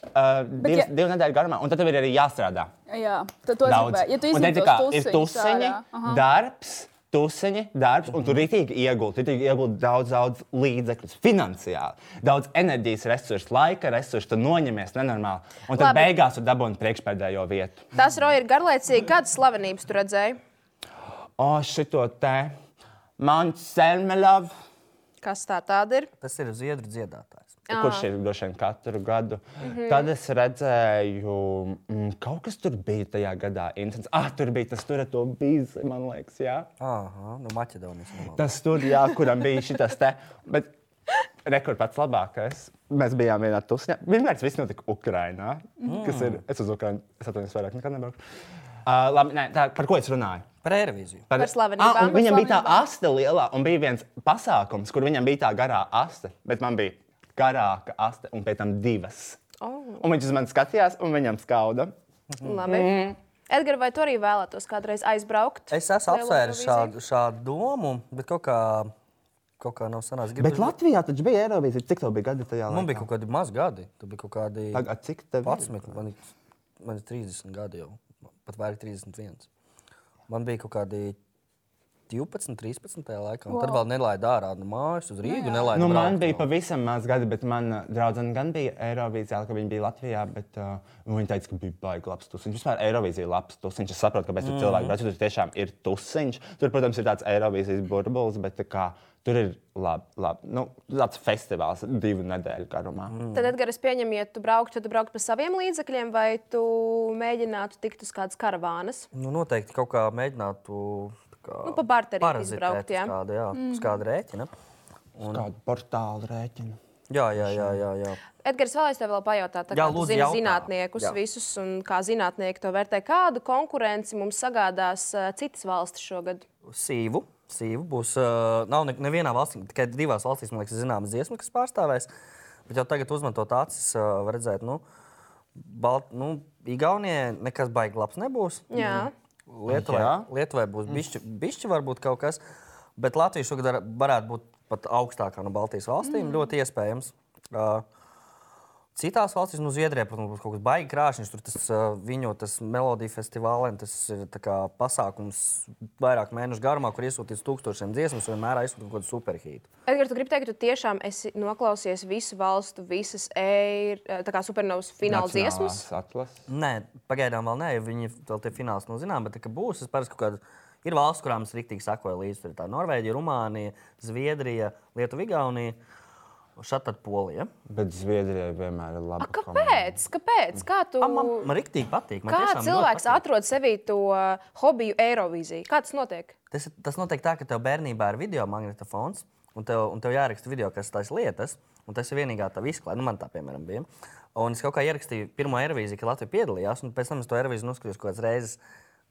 Speaker 2: Uh, divas,
Speaker 3: ja-
Speaker 2: ja... Divu nedēļu garumā, un tad tev ir arī jāstrādā.
Speaker 3: Jā, tad to es
Speaker 2: Daudz.
Speaker 3: gribēju. Ja tu
Speaker 2: Un
Speaker 3: izņem
Speaker 2: te tā
Speaker 3: tos
Speaker 2: kā ir
Speaker 3: tusiņus
Speaker 2: tusiņi,
Speaker 3: ārā. Aha.
Speaker 2: darbs, tusiņi, darbs, un tu rītīgi iegūti. Tu iegūti daudz, daudz līdzekļu, finansiāli, daudz enerģijas resursu, laika resursu, tu noņemies nenormāli. Un tad
Speaker 1: Labi.
Speaker 2: beigās tu dabūji priekšpēdējo vietu.
Speaker 1: Tas roja ir garlaicīgi. Kādas slavenības tu redzēji?
Speaker 2: O, šito te, man selmelov.
Speaker 1: Kas tā tāda ir?
Speaker 4: Tas ir Zviedru dziedātājs.
Speaker 1: Ā.
Speaker 2: Kurš ir droši vien katru gadu? Mm
Speaker 3: Mhm.
Speaker 2: -hmm. Tad es redzēju, mm, kaut kas tur bija tajā gadā. Intens. Ah, tur bija tas tur ar to bīzi, man liekas, jā.
Speaker 4: Aha, no Maķedonijas. nemaldos.
Speaker 2: Tas tur jā, kuram bija šis te. Bet rekords pats labākais. Mēs bijām vienā pusē. Vienmēr tas viss notika Ukrajinā. Mm. Kas ir? Es uz Ukrajinu, es atvainojos, vairāk nekad nebraucu. Uh, labi, nē, tā, par ko es runāju?
Speaker 4: Par aerobīziju.
Speaker 1: Par slavenībām.
Speaker 2: Ah, un viņam
Speaker 3: Par
Speaker 2: bija tā asta lielā, un bija viens pasākums, kur viņam bija tā garā asta, bet man bija garāka asta un pēc tam divas.
Speaker 1: Oh,
Speaker 2: Un viņš uz mani skatījās, un viņam skauda.
Speaker 4: Mhm.
Speaker 1: labi. Edgars, vai tu arī vēlētos kādreiz aizbraukt?
Speaker 4: Es esmu
Speaker 1: Lielo
Speaker 4: apsvēris
Speaker 1: Eirovīziju?
Speaker 4: šādu, šādu domu, bet kaut kā, kaut kā nav sanācis.
Speaker 2: Bet Latvijā taču bija Eirovīzija. Cik tev bija gadi tajā laikā?
Speaker 4: Man bija kaut kādi mazi gadi. Tur bija kaut kādi
Speaker 2: Tagad cik tev ir?
Speaker 4: 11, man, ir- man ir 30 gadi jau, pat vairāk 31. Man bija kaut kādi 12, 13 tajā laikā. Wow. Tad vēl nelaida ārā no mājas uz Rīgu. Nelaida
Speaker 2: Nu,
Speaker 4: braukt
Speaker 2: man bija
Speaker 4: no-
Speaker 2: pavisam maz gadi, bet mana draudzene gan bija Eirovīzijā, ka viņa bija Latvijā. Bet, uh, viņa teica, ka bija baigi labs tusiņš. Vispār Eirovīzija ir labs tusiņš. Es saprotu, kāpēc mm. tur cilvēki brauc. jo Tur tiešām ir tusiņš. Tur, protams, ir tāds Eirovīzijas burbulis, bet tā kā, tur ir labi. Lab, nu, tāds festivāls divu nedēļu garumā. Mm.
Speaker 1: Tad, Edgars, pieņem, ja tu brauktu, tad tu brauktu pa saviem līdzekļiem, vai tu mēģinātu tikt uz kādas karavānas?
Speaker 4: Nu, noteikti kaut kā mēģinātu. tā kā
Speaker 1: Nu, pa barterīti
Speaker 4: parazitēt
Speaker 1: izbraukt, jā.
Speaker 4: Uz kāda, jā, mm. uz kāda rēķina.
Speaker 2: Un... Kādu portālu rēķinu?
Speaker 4: Jā, jā, jā. jā, jā.
Speaker 1: Edgars, vēl es tev vēl pajautātu,
Speaker 4: Jā,
Speaker 1: kādu
Speaker 4: lūdzu,
Speaker 1: zini
Speaker 4: jautā.
Speaker 1: zinātniekus
Speaker 4: Jā.
Speaker 1: Jā. visus un kā zinātnieki to vērtē. Kādu konkurenci mums sagādās eh, citas valstis šogad?
Speaker 4: Sīvu. Sīvu būs. Uh, nav ne, nevienā valstī, tikai divās valstīs, man liekas, zināmas dziesmas, kas pārstāvēs. Bet jau tagad, uzmantot acis, uh, var redzēt, nu, Balt, nu Igaunijai nekas baigi labs nebūs.
Speaker 1: Jā.
Speaker 4: Lietuvai,
Speaker 2: Jā.
Speaker 4: Lietuvai būs bišķi, bišķi varbūt kaut kas. Bet Latvija šogad var- varētu būt pat augstākā no Baltijas valstīm. Mm. Ļoti iespējams. Uh, Citās valstīs, nu, Zviedrijā, protams, būs kaut kas baigi krāšņs. Tur tas uh, viņu tas melodiju festivālē, un tas ir tā kā pasākums vairāk mēnešu garumā, kur iesūtīts tūkstošiem dziesmu, un vienmēr aizsūtīts kaut kādu superhītu.
Speaker 1: Edgars, tu gribi teikt, ka tu tiešām esi noklausies visu valstu, visas eir, eh, tā kā supernovas fināla dziesmas?
Speaker 2: atlases.
Speaker 4: Nē, pagaidām vēl nē, jo viņi vēl tie fināls nav zināmi, bet tā kā būs, es parasti kaut kādā. Ir valsts, kurām es rīktīgi sakoju līdzi. Tur ir tā Norvēģija, Rumānija, Zviedrija, Lietuva, Igaunija, šeit tad Polija.
Speaker 2: Bet Zviedrijai vienmēr ir labi.
Speaker 1: Kāpēc? Kāpēc? Kā tu?
Speaker 4: A, Man, man rīktīgi patīk. Man
Speaker 1: Kā
Speaker 4: tiešām ļoti
Speaker 1: cilvēks
Speaker 4: patīk.
Speaker 1: atrod sevī to eh, hobiju Eirovīzijā? Kā tas notiek?
Speaker 4: Tas, ir- tas notiek tā, ka tev bērnībā ir video magnetofons, un tev, un tev jāraksta video, kas tas lietas, un tas ir vienīgā tā izklāde. Nu, man tā, piemēram, bija. Un es kaut kā ierakstīju pirmo aerovīziju, kad Latvija piedalījās, un pēc tam es to aerovīziju noskatījos kaut kādas reizes.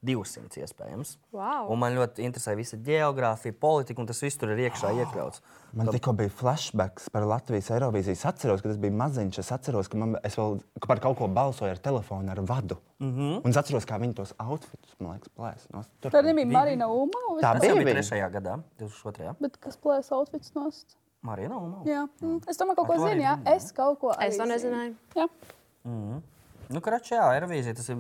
Speaker 4: 200 iespējams.
Speaker 1: Wow.
Speaker 4: Un man ļoti interesē visa geogrāfija, politika, un tas viss tur ir iekšā iekļauts.
Speaker 2: Man tikko bija flashbacks par Latvijas Eirovīzijas. Es atceros, ka tas bija maziņš. Es atceros, ka man, es vēl ka par kaut ko balsoju ar telefonu, ar vadu. Mm -hmm. Un es atceros, kā viņi tos outfitus, man liekas, plēs. No, tur
Speaker 3: Tad nebija Marina Uma.
Speaker 2: Tā
Speaker 4: Tas
Speaker 2: bija
Speaker 4: jau bija
Speaker 2: viņa.
Speaker 4: trešajā gadā, 2002.
Speaker 3: Bet kas plēs outfits nost?
Speaker 4: Marija Nūma.
Speaker 3: Jā. Mm. Es domāju, kaut ko
Speaker 4: to arī
Speaker 3: zinu, jā.
Speaker 4: zini, jā.
Speaker 3: Es kaut ko
Speaker 1: Es
Speaker 3: arī
Speaker 1: to
Speaker 3: zinu.
Speaker 1: nezināju.
Speaker 3: Jā.
Speaker 4: Nu, Karačajā aerovīzija, tas ir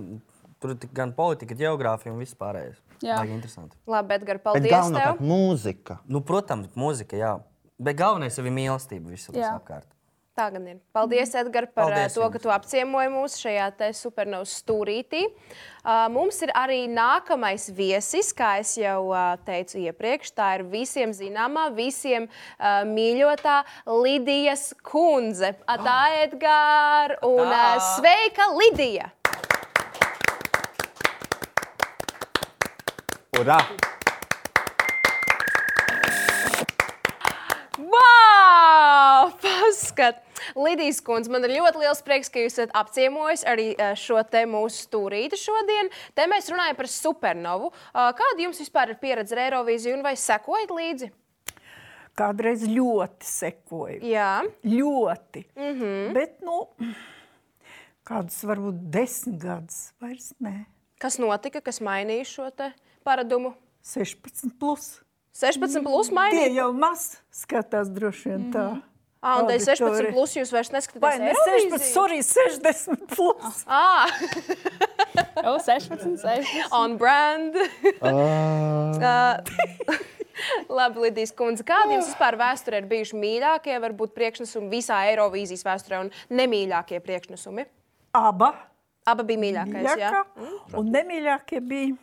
Speaker 4: tur ir tik gan politika, geogrāfija un viss pārējais.
Speaker 3: Jā.
Speaker 4: Baigi interesanti.
Speaker 1: Labi, Edgars,
Speaker 2: Bet
Speaker 1: paldies tev!
Speaker 2: galvenokārt mūzika.
Speaker 4: Nu, protams, mūzika, jā. Bet galvenais ir mīlestība visur
Speaker 3: Jā.
Speaker 4: apkārt.
Speaker 1: Tā gan ir. Paldies, Edgars, par Mm. Paldies
Speaker 4: Paldies
Speaker 1: to, ka
Speaker 4: jums.
Speaker 1: tu apciemoji mūs šajā te supernovas stūrītī. Uh, Mums ir arī nākamais viesis, kā es jau uh, teicu iepriekš. Tā ir visiem zināmā, visiem uh, mīļotā Lidijas kundze. Tā, Edgars, un uh,
Speaker 4: Atā.
Speaker 1: sveika, Lidija!
Speaker 2: Urā!
Speaker 1: Wow! Paskat! Lidijas kundze, man ir ļoti liels prieks, ka jūs esat apciemojis arī eh, šo te mūsu stūrīti šodien. Te mēs runājam par supernovu. Ah, Kāda jums vispār ir pieredze ar Eirovīziju un vai sekojat līdzi?
Speaker 5: Kādreiz ļoti sekoju.
Speaker 1: Jā,
Speaker 5: Ļoti. Mm
Speaker 1: Mhm.
Speaker 5: -hmm. Bet, nu, kādus varbūt desmit gadus vairs ne.
Speaker 1: kas notika, kas mainīja šo te paradumu?
Speaker 5: 16 plus.
Speaker 1: 16 plus
Speaker 5: Tie
Speaker 1: mainīja.
Speaker 5: jau maz skatās droši vien tā. Mm -hmm.
Speaker 1: Ah, un tad
Speaker 5: Auditorija.
Speaker 1: 16 plus jūs vairs
Speaker 5: Vai
Speaker 1: neskatāties
Speaker 5: ne 16, sorry, 60 plus?
Speaker 1: Ah,
Speaker 3: Jau 16, 16.
Speaker 1: on brand. Ā, Labi, Lidijas kundze, kādi jums vispār vēsturē ir bijuši mīļākie, varbūt priekšnesumi visā Eirovīzijas vēsturē un nemīļākie priekšnesumi?
Speaker 5: Aba.
Speaker 1: Abi bija mīļākais, jā. Mhm.
Speaker 5: Jaka, un nemīļākie bija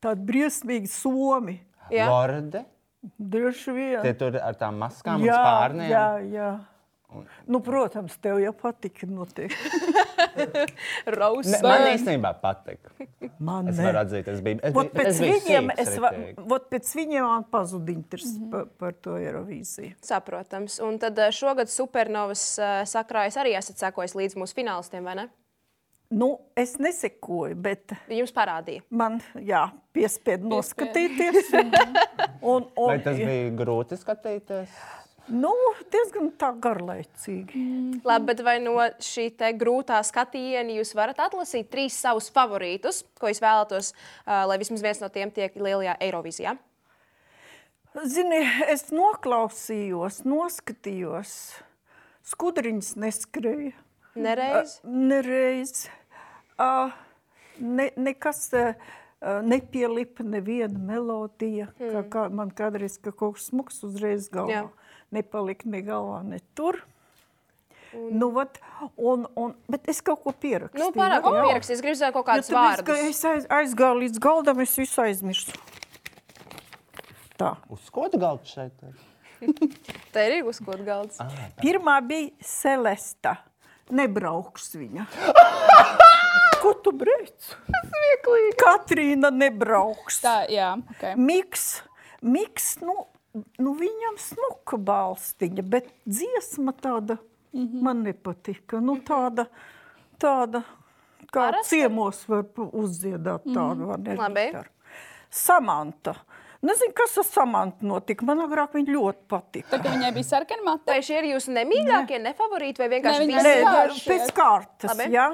Speaker 5: tādi briesmīgi somi.
Speaker 1: Jā.
Speaker 2: Lorde,
Speaker 5: Droši vien.
Speaker 2: tie tur ar tām maskām un spārniem.
Speaker 5: jā, jā. Nu, protams, tev jau patika. Noteikti.
Speaker 2: Ne,
Speaker 1: Rausba.
Speaker 2: man īstenībā patīk.
Speaker 5: Man
Speaker 2: Es
Speaker 5: ne.
Speaker 2: varu atzīt, es biju. Es
Speaker 5: Vot
Speaker 2: biju,
Speaker 5: pēc,
Speaker 2: es biju
Speaker 5: viņiem,
Speaker 2: sīks
Speaker 5: es va,
Speaker 2: riktīgi.
Speaker 5: vot pēc viņiem man pazuda interesi mm -hmm. par, par to Eirovīziju.
Speaker 1: Saprotams. Un tad ā, šogad supernovas ā, sakrājas arī esat sekojis līdz mūsu finālistiem, vai ne?
Speaker 5: Nu, es nesekoju, bet
Speaker 1: Jums parādīja.
Speaker 5: man jā, piespied noskatīties. Un, un,
Speaker 2: Vai
Speaker 5: un,
Speaker 2: tas bija grūti skatīties?
Speaker 5: nu, diezgan tā garlaicīgi.
Speaker 2: Mhm.
Speaker 1: Labi, bet vai no šī te grūtā skatiņa jūs varat atlasīt trīs savus favorītus, ko jūs vēlētos, ā, lai vismaz viens no tiem tiek lielajā Eirovīzijā?
Speaker 5: Zini, es noklausījos, noskatījos. Skudriņas neskrēja.
Speaker 2: Mhm.
Speaker 1: Nereiz.
Speaker 5: Nereiz. Uh, ne, nekas uh, nepielika neviena melodija. Mm. Kā, kā man kādreiz ka kaut kas smags uzreiz galvā.
Speaker 1: Hmm. Jā.
Speaker 5: Nepalika ne galvā, ne tur. Un... Nu, vat, un, un, bet es kaut ko pierakstīju.
Speaker 1: Nu, pārāk
Speaker 5: jā.
Speaker 1: oh. pierakstīs, es gribu zināt kaut
Speaker 5: Jo
Speaker 1: kādus
Speaker 5: tāpēc, ka
Speaker 1: vārdus.
Speaker 5: Es aiz, aizgāju līdz galdam, es visu aizmirsu. Tā.
Speaker 2: Uz skoda galda šeit. ir?
Speaker 1: Te ir Rīgas kaut galds.
Speaker 5: Ah. Pirmā bija Celesta. Nebrauks viņa. Ko tu brēc? Katrīna nebrauks.
Speaker 3: Tā, jā, ok.
Speaker 5: Miks, miks nu, nu viņam smuka balstiņa, bet dziesma tāda mm -hmm. man nepatika. Nu, tāda, tāda kā Parasti? ciemos var pa- uzdziedāt tādu mm -hmm.
Speaker 1: Labi.
Speaker 5: Samanta. Nezinu, kas ar Samantu notika. Man agrāk viņa ļoti patika.
Speaker 3: Tā kā viņai bija sarkana matra.
Speaker 1: Vai šie ir jūsu nemīļākie, nefavorīti vai vienkārši
Speaker 3: Ne,
Speaker 1: ne,
Speaker 3: viņi-
Speaker 1: visi?
Speaker 5: Nē,
Speaker 3: Jā,
Speaker 5: nu,
Speaker 3: šie.
Speaker 5: pēc kārtas.
Speaker 1: Labi.
Speaker 5: Jā.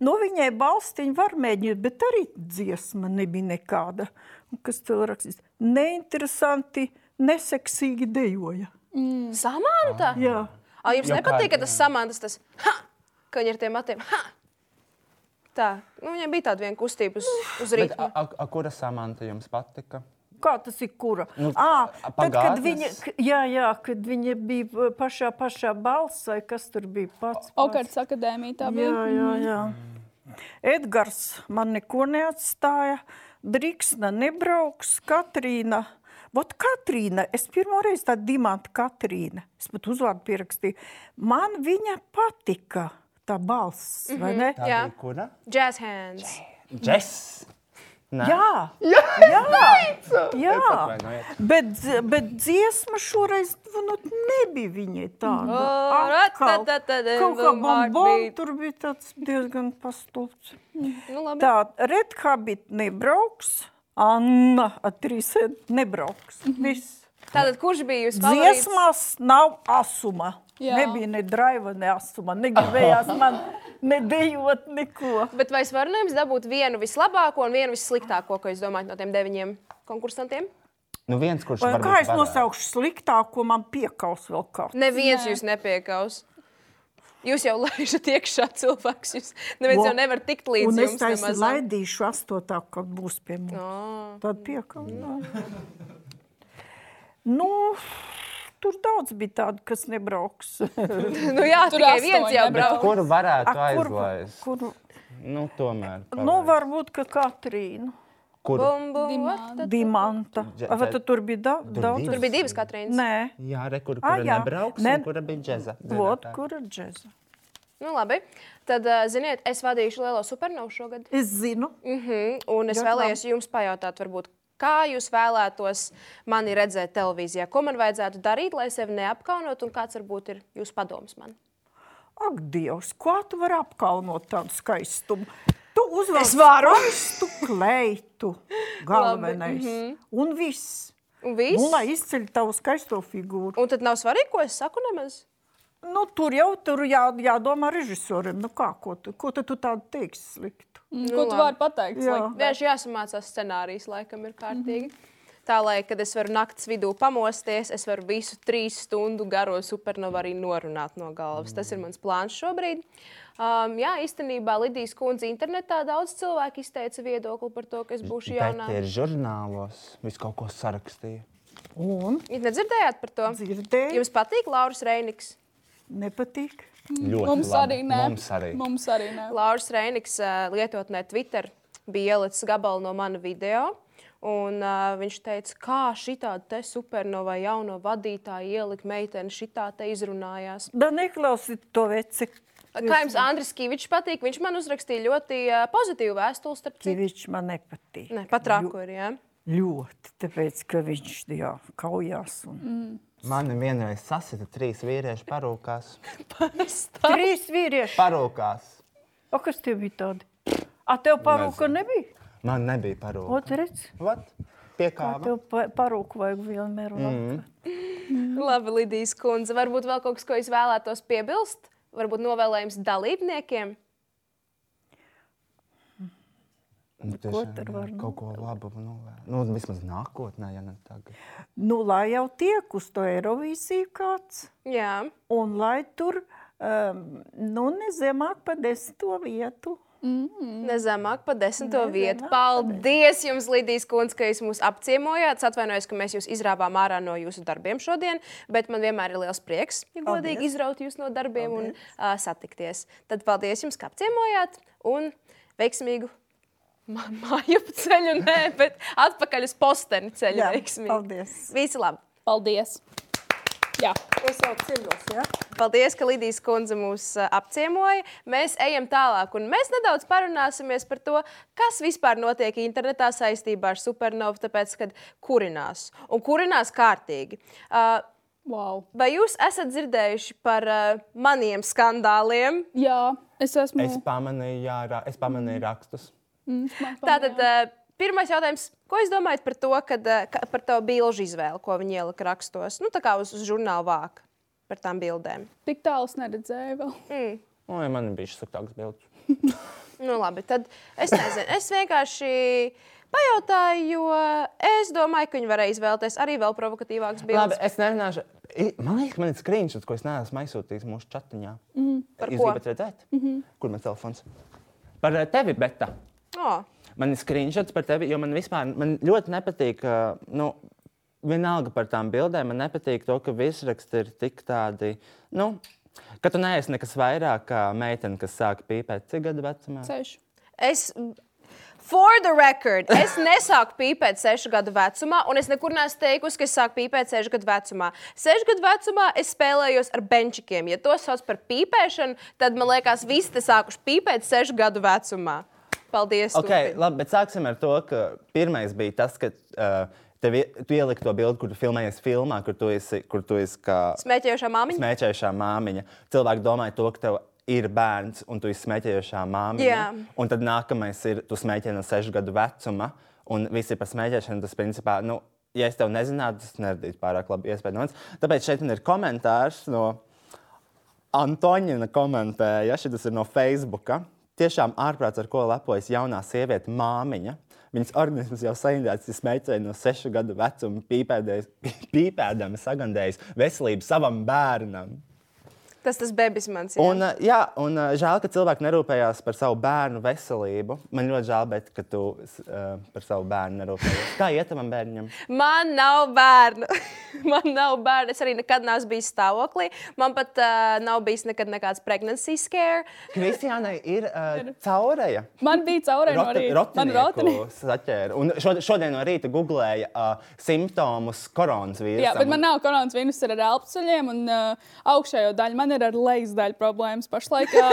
Speaker 5: Nu, viņai balstiņa var mēģināt, bet arī dziesma nebija nekāda. Un Kas tur rakstīs? Neinteresanti, neseksīgi dejoja.
Speaker 1: Samanta?
Speaker 5: Ah, Jā.
Speaker 1: A, jums
Speaker 2: Jo
Speaker 1: nepatīk,
Speaker 2: kā-
Speaker 1: ka tas samantas, tas, ha! ka viņi ar tiem matiem. Ha! Tā, nu, viņam bija tāda viena kustība uz, uz
Speaker 2: Bet,
Speaker 1: rīta.
Speaker 2: a, a, a, kura samanta jums patika?
Speaker 5: Kā tas ir kura?
Speaker 2: Nu,
Speaker 5: À, tad, kad
Speaker 2: pagātnes?
Speaker 5: viņa, k- jā, jā, kad viņa bija eh, pašā, pašā balsā, kas tur bija pats. pats.
Speaker 3: Okards akadēmija tā
Speaker 5: Jā,
Speaker 3: bija.
Speaker 5: jā, jā. Edgars man neko neatstāja. Drīksna nebrauks, Katrīna. Vot Katrīna, es pirmo reizi tādu dimantu Katrīna, es pat uzvārdu pierakstīju. Man viņa patika, tā balss, mm -hmm. vai ne?
Speaker 2: Tā
Speaker 1: Jā.
Speaker 2: bija kura?
Speaker 1: Jazz hands.
Speaker 2: Džess! Nē.
Speaker 5: Jā, jā, jā. jā.
Speaker 2: Atvainojiet.
Speaker 5: Bet, dz- bet dziesma šoreiz nu, nebija viņai tāda.
Speaker 1: Ora,
Speaker 5: Atkal
Speaker 1: ta, ta, ta,
Speaker 5: Kaut kā
Speaker 1: bombard
Speaker 5: bombona
Speaker 1: beat.
Speaker 5: tur bija tāds diezgan pastults.
Speaker 1: Nu, labi.
Speaker 5: Tā, Redhabit nebrauks, Anna atrīsē nebrauks.
Speaker 1: Mhm.
Speaker 5: Viss.
Speaker 1: Tātad, kurš bija jūsu favorīts?
Speaker 5: Dziesmās nav asuma. Jā.
Speaker 3: Jā.
Speaker 5: Nebija ne draiva, ne asuma. Negribējās man nedējot neko.
Speaker 1: Bet vai es varu no jums dabūt vienu vislabāko un vienu vissliktāko, ko jūs domājat no tiem deviņiem konkursantiem?
Speaker 2: Nu viens, kurš
Speaker 5: Vai
Speaker 2: varbūt
Speaker 5: kā es
Speaker 2: varētu.
Speaker 5: nosaukšu sliktāko, man piekaus vēl kaut.
Speaker 1: Neviens Nē. jūs nepiekaus. Jūs jau laižat iekšā cilvēks. Jūs neviens jau nevar tikt līdz
Speaker 5: Un es
Speaker 1: jums.
Speaker 5: taisu
Speaker 1: nemazam.
Speaker 5: laidīšu astotā, kad būs pie mums.
Speaker 1: Ā.
Speaker 5: Tad piekāpā. Nu, tur daudz bija tādu, kas nebrauks.
Speaker 1: Nu, jā, tur
Speaker 3: Tur
Speaker 1: tikai
Speaker 3: astoņi,
Speaker 1: viens jau
Speaker 3: bet
Speaker 1: brauc.
Speaker 2: Kur varētu
Speaker 5: A, kur-
Speaker 2: aizlaist?
Speaker 5: kur,
Speaker 2: Nu, tomēr.
Speaker 5: nu, varbūt ka Katrīna,
Speaker 2: Kur?
Speaker 1: Bum, bum,
Speaker 3: Dimanta.
Speaker 1: ot, tad-
Speaker 5: Dimanta.
Speaker 2: Dž-
Speaker 5: A, Vai
Speaker 2: dž-
Speaker 5: tu tur bija da,
Speaker 2: Tur
Speaker 5: daudz?
Speaker 1: Tur bija divas Katrīnas.
Speaker 5: Nē,
Speaker 2: Jā, re, kur,
Speaker 5: Ah,
Speaker 2: kura
Speaker 5: jā.
Speaker 2: nebrauks,
Speaker 5: Ne-
Speaker 2: un kura bija džeza.
Speaker 5: vot, kur ir džēza?
Speaker 1: Nu, labi. Tad, ā, ziniet, es vadīšu lielo supernovu šogad.
Speaker 5: Es zinu,
Speaker 1: Mhm, Un es
Speaker 5: Ļoti
Speaker 1: vēlējos jums pajautāt, varbūt, kā jūs vēlētos mani redzēt televīzijā? Ko man vajadzētu darīt, lai sevi neapkaunot, un kāds varbūt ir jūsu padoms man?
Speaker 5: ak, Dievs, ko tu vari apkalnot tādu skaistumu? Tu uzvelc
Speaker 1: Es varu.
Speaker 5: skaistu kleitu, galvenais. Un viss.
Speaker 1: Un mhm.
Speaker 5: Un
Speaker 1: viss?
Speaker 5: Nu, lai izceļ tavu skaisto figūru.
Speaker 1: Un tad nav svarīgi, ko es saku nemaz.
Speaker 5: Nu, tur jau tur jā, jādomā režisoram, nu kā, ko tu, ko tu, tu tādu teiksi sliktu.
Speaker 3: Mm, Ko tu vari pateikt?
Speaker 5: Jā.
Speaker 3: slikti?
Speaker 1: Vienkārši jāsamācās scenārijs, laikam, ir kārtīgi. Mm -hmm. Tā lai, kad es varu naktas vidū pamosties, es varu visu trīs stundu garo supernovu arī norunāt no galvas. Tas ir mans plāns šobrīd. Um, jā, īstenībā Lidijas kundze internetā daudz cilvēku izteica viedokli par to, ka es būšu jaunā.
Speaker 2: Bet eh, ir žurnālos, viss kaut ko sarakstīja.
Speaker 5: Un
Speaker 1: Jūs nedzirdējāt par to?
Speaker 5: Dzirdēju.
Speaker 1: Jums patīk Lauris Reiniks.
Speaker 5: nepatīk.
Speaker 2: Ļoti
Speaker 3: Mums
Speaker 2: labi.
Speaker 3: arī nē.
Speaker 2: Mums arī.
Speaker 3: Mums arī nē.
Speaker 1: Lauris Reiniks ā, lietotnē Twitter bija ielicis gabalu no mana video. Un, uh, viņš teica, kā šī tāda supernovā jauno vadītāju ielika meitene, šī tā izrunājās.
Speaker 5: Da neklausiet to veci.
Speaker 1: Kā jums Andris Kavičs patīk? Viņš man uzrakstīja ļoti uh, pozitīvu vēstuli starp citu.
Speaker 5: Viņš man nepatīk.
Speaker 1: Nē, pat rāko ir. Ja?
Speaker 5: Ļoti, tāpēc, ka viņš jā, kaujās. Un... Mm.
Speaker 2: Mani vienreiz sasita trīs vīrieši parūkās.
Speaker 5: Trīs vīrieši.
Speaker 2: Parūkās.
Speaker 5: O, kas tev bija tādi? A, tev parūka nebija?
Speaker 2: Man nebija parūka.
Speaker 5: Ot, redz,
Speaker 2: Vat, pie kā?
Speaker 5: kā tev pa- parūku vajag vienmēr. Mm.
Speaker 1: Labi, Lidijas kundze, varbūt vēl kaut kas, ko es vēlētos piebilst? Varbūt novēlējums dalībniekiem.
Speaker 2: Nu, tiešām,
Speaker 5: tur
Speaker 2: jā,
Speaker 5: var
Speaker 2: Kaut ko labu novērt. Nu, vismaz nākotnē, ja ne tagad.
Speaker 5: Nu, lai jau tiek uz to Eirovīziju kāds,
Speaker 1: Jā,
Speaker 5: un lai tur, um, nu, nezemāk pa desmito vietu.
Speaker 1: nezemāk par desmito
Speaker 5: Nezemāk
Speaker 1: vietu.
Speaker 5: pa
Speaker 1: Paldies jums, Lidijas kundze, ka jūs mūs apciemojāt. Es atvainojos, ka mēs jūs izrāvām ārā no jūsu darbiem šodien, bet man vienmēr ir liels prieks, ja godīgi izraut jūs no darbiem un uh, satikties. Tad paldies jums, ka apciemojāt un veiksmīgu! ma- Māju ceļu, nē, bet atpakaļ uz posteni ceļu.
Speaker 5: Jā,
Speaker 1: veiksmīgi.
Speaker 5: paldies.
Speaker 1: Visi labi!
Speaker 3: Paldies! Jā.
Speaker 5: Es jau ceļos, jā? Ja?
Speaker 1: Paldies, ka Lidijas kundze mūs ā, apciemoja. Mēs ejam tālāk, un mēs nedaudz parunāsimies par to, kas vispār notiek internetā saistībā ar supernovu, tāpēc, kad kurinās un kurinās kārtīgi. Ā,
Speaker 3: Wow.
Speaker 1: Vai jūs esat dzirdējuši par ā, maniem skandāliem?
Speaker 3: Jā, es esmu.
Speaker 1: Nu.
Speaker 2: Es pamanīju, jā, ra- es
Speaker 1: Mhm.
Speaker 2: pamanīju rakstus.
Speaker 1: Tātad, ā, pirmais jautājums, ko jūs domājat par to, kad, ā, ka- par to bilžu izvēli, ko viņi ielika rakstos? Nu, tā kā uz, uz žurnāla vāka par tām bildēm. Mm.
Speaker 3: Tik tālu es neredzēju vēl.
Speaker 2: Nu, ja man bija šis saktāks bildes.
Speaker 1: Nu, labi, tad es nezinu. Es vienkārši pajautāju, jo es domāju, ka viņi varēja izvēlēties arī vēl provokatīvākas
Speaker 2: Labi,
Speaker 1: bildes.
Speaker 2: es nezināšu. I- Man liekas, man ir skriņķis, ko es neesmu aizsūtījis mūsu chatiņā. Mm.
Speaker 1: Mhm. Par
Speaker 2: Jūs
Speaker 1: ko? Mhm.
Speaker 2: gribat redzēt? Mm -hmm. Kur man telefons? Par eh, tevi, Beta.
Speaker 1: Oh,
Speaker 2: Man ir skriņķis par tevi, jo man vispār man ļoti nepatīk. eh, Nu, vienalga par tām bildēm, man nepatīk to, ka virsraksti ir tik tādi. Nu, Ka tu neesi nekas vairāk kā meitene, kas sāk pīpēt, cik gadu vecumā?
Speaker 3: Ceļš.
Speaker 1: es, for the record, es nesāku pīpēt sešu gadu vecumā, un es nekur neesmu teikusi, ka es sāku pīpēt sešu gadu vecumā. Sešu gadu vecumā es spēlējos ar benčikiem. Ja to sauc par pīpēšanu, tad man liekas, visi te sākuši pīpēt sešu gadu vecumā. Paldies!
Speaker 2: Okay,
Speaker 1: turpini.
Speaker 2: labi, bet sāksim ar to, ka pirmais bija tas, ka uh, tev ie- tu ieliki to bildi, kur tu filmējies filmā, kur tu esi, kur tu esi kā
Speaker 1: Smēķējušā māmiņa!
Speaker 2: smēķējušā māmiņa. Cilvēki domāja to, ka tev ir bērns un tu esi smēķējušā māmiņa.
Speaker 1: Jā.
Speaker 2: Un tad nākamais ir, tu smēķē no sešu gadu vecuma un visi par smēķēšanu tas principā. Nu, Ja es tev nezinātu, tas neradītu pārāk labu iespēju. No manis. Tāpēc šeit man ir komentārs no Antoniņa komentēja, šī tas ir no Facebook. Tiešām ārprāts, ar ko lepojas jaunā sieviete, māmiņa. Viņas organisms jau saindēts, ir smēķējis no sešu gadu vecuma, pīpēdējis- pīpēdami sagandējis veselību savam bērnam.
Speaker 1: Tas tas bebis mans. jā.
Speaker 2: Un, uh, jā, un uh, žēl, ka cilvēki nerūpējās par savu bērnu veselību. Man ļoti žēl, bet, ka tu s- uh, par savu bērnu nerūpējies. Kā iet tam bērnam?
Speaker 1: Man nav bērnu. Man nav bērnu. Es arī nekad neesmu bijis stāvoklī. Man pat uh, nav bijis nekad nekāds pregnancy scare.
Speaker 2: Kristiānai ir uh,
Speaker 3: nu-
Speaker 2: caurēja.
Speaker 3: Man bija caurē no rīta. nu Man rotini.
Speaker 2: Rotaļlietu saķēra. Šodien no rīta googlēja uh, simptomus koronas vīrusam.
Speaker 3: Jā, bet man nav koronas vīnus ar elpoceļiem un uh, augšējo daļu. Man ir ar lejas daļu problēmas pašlaik. ā.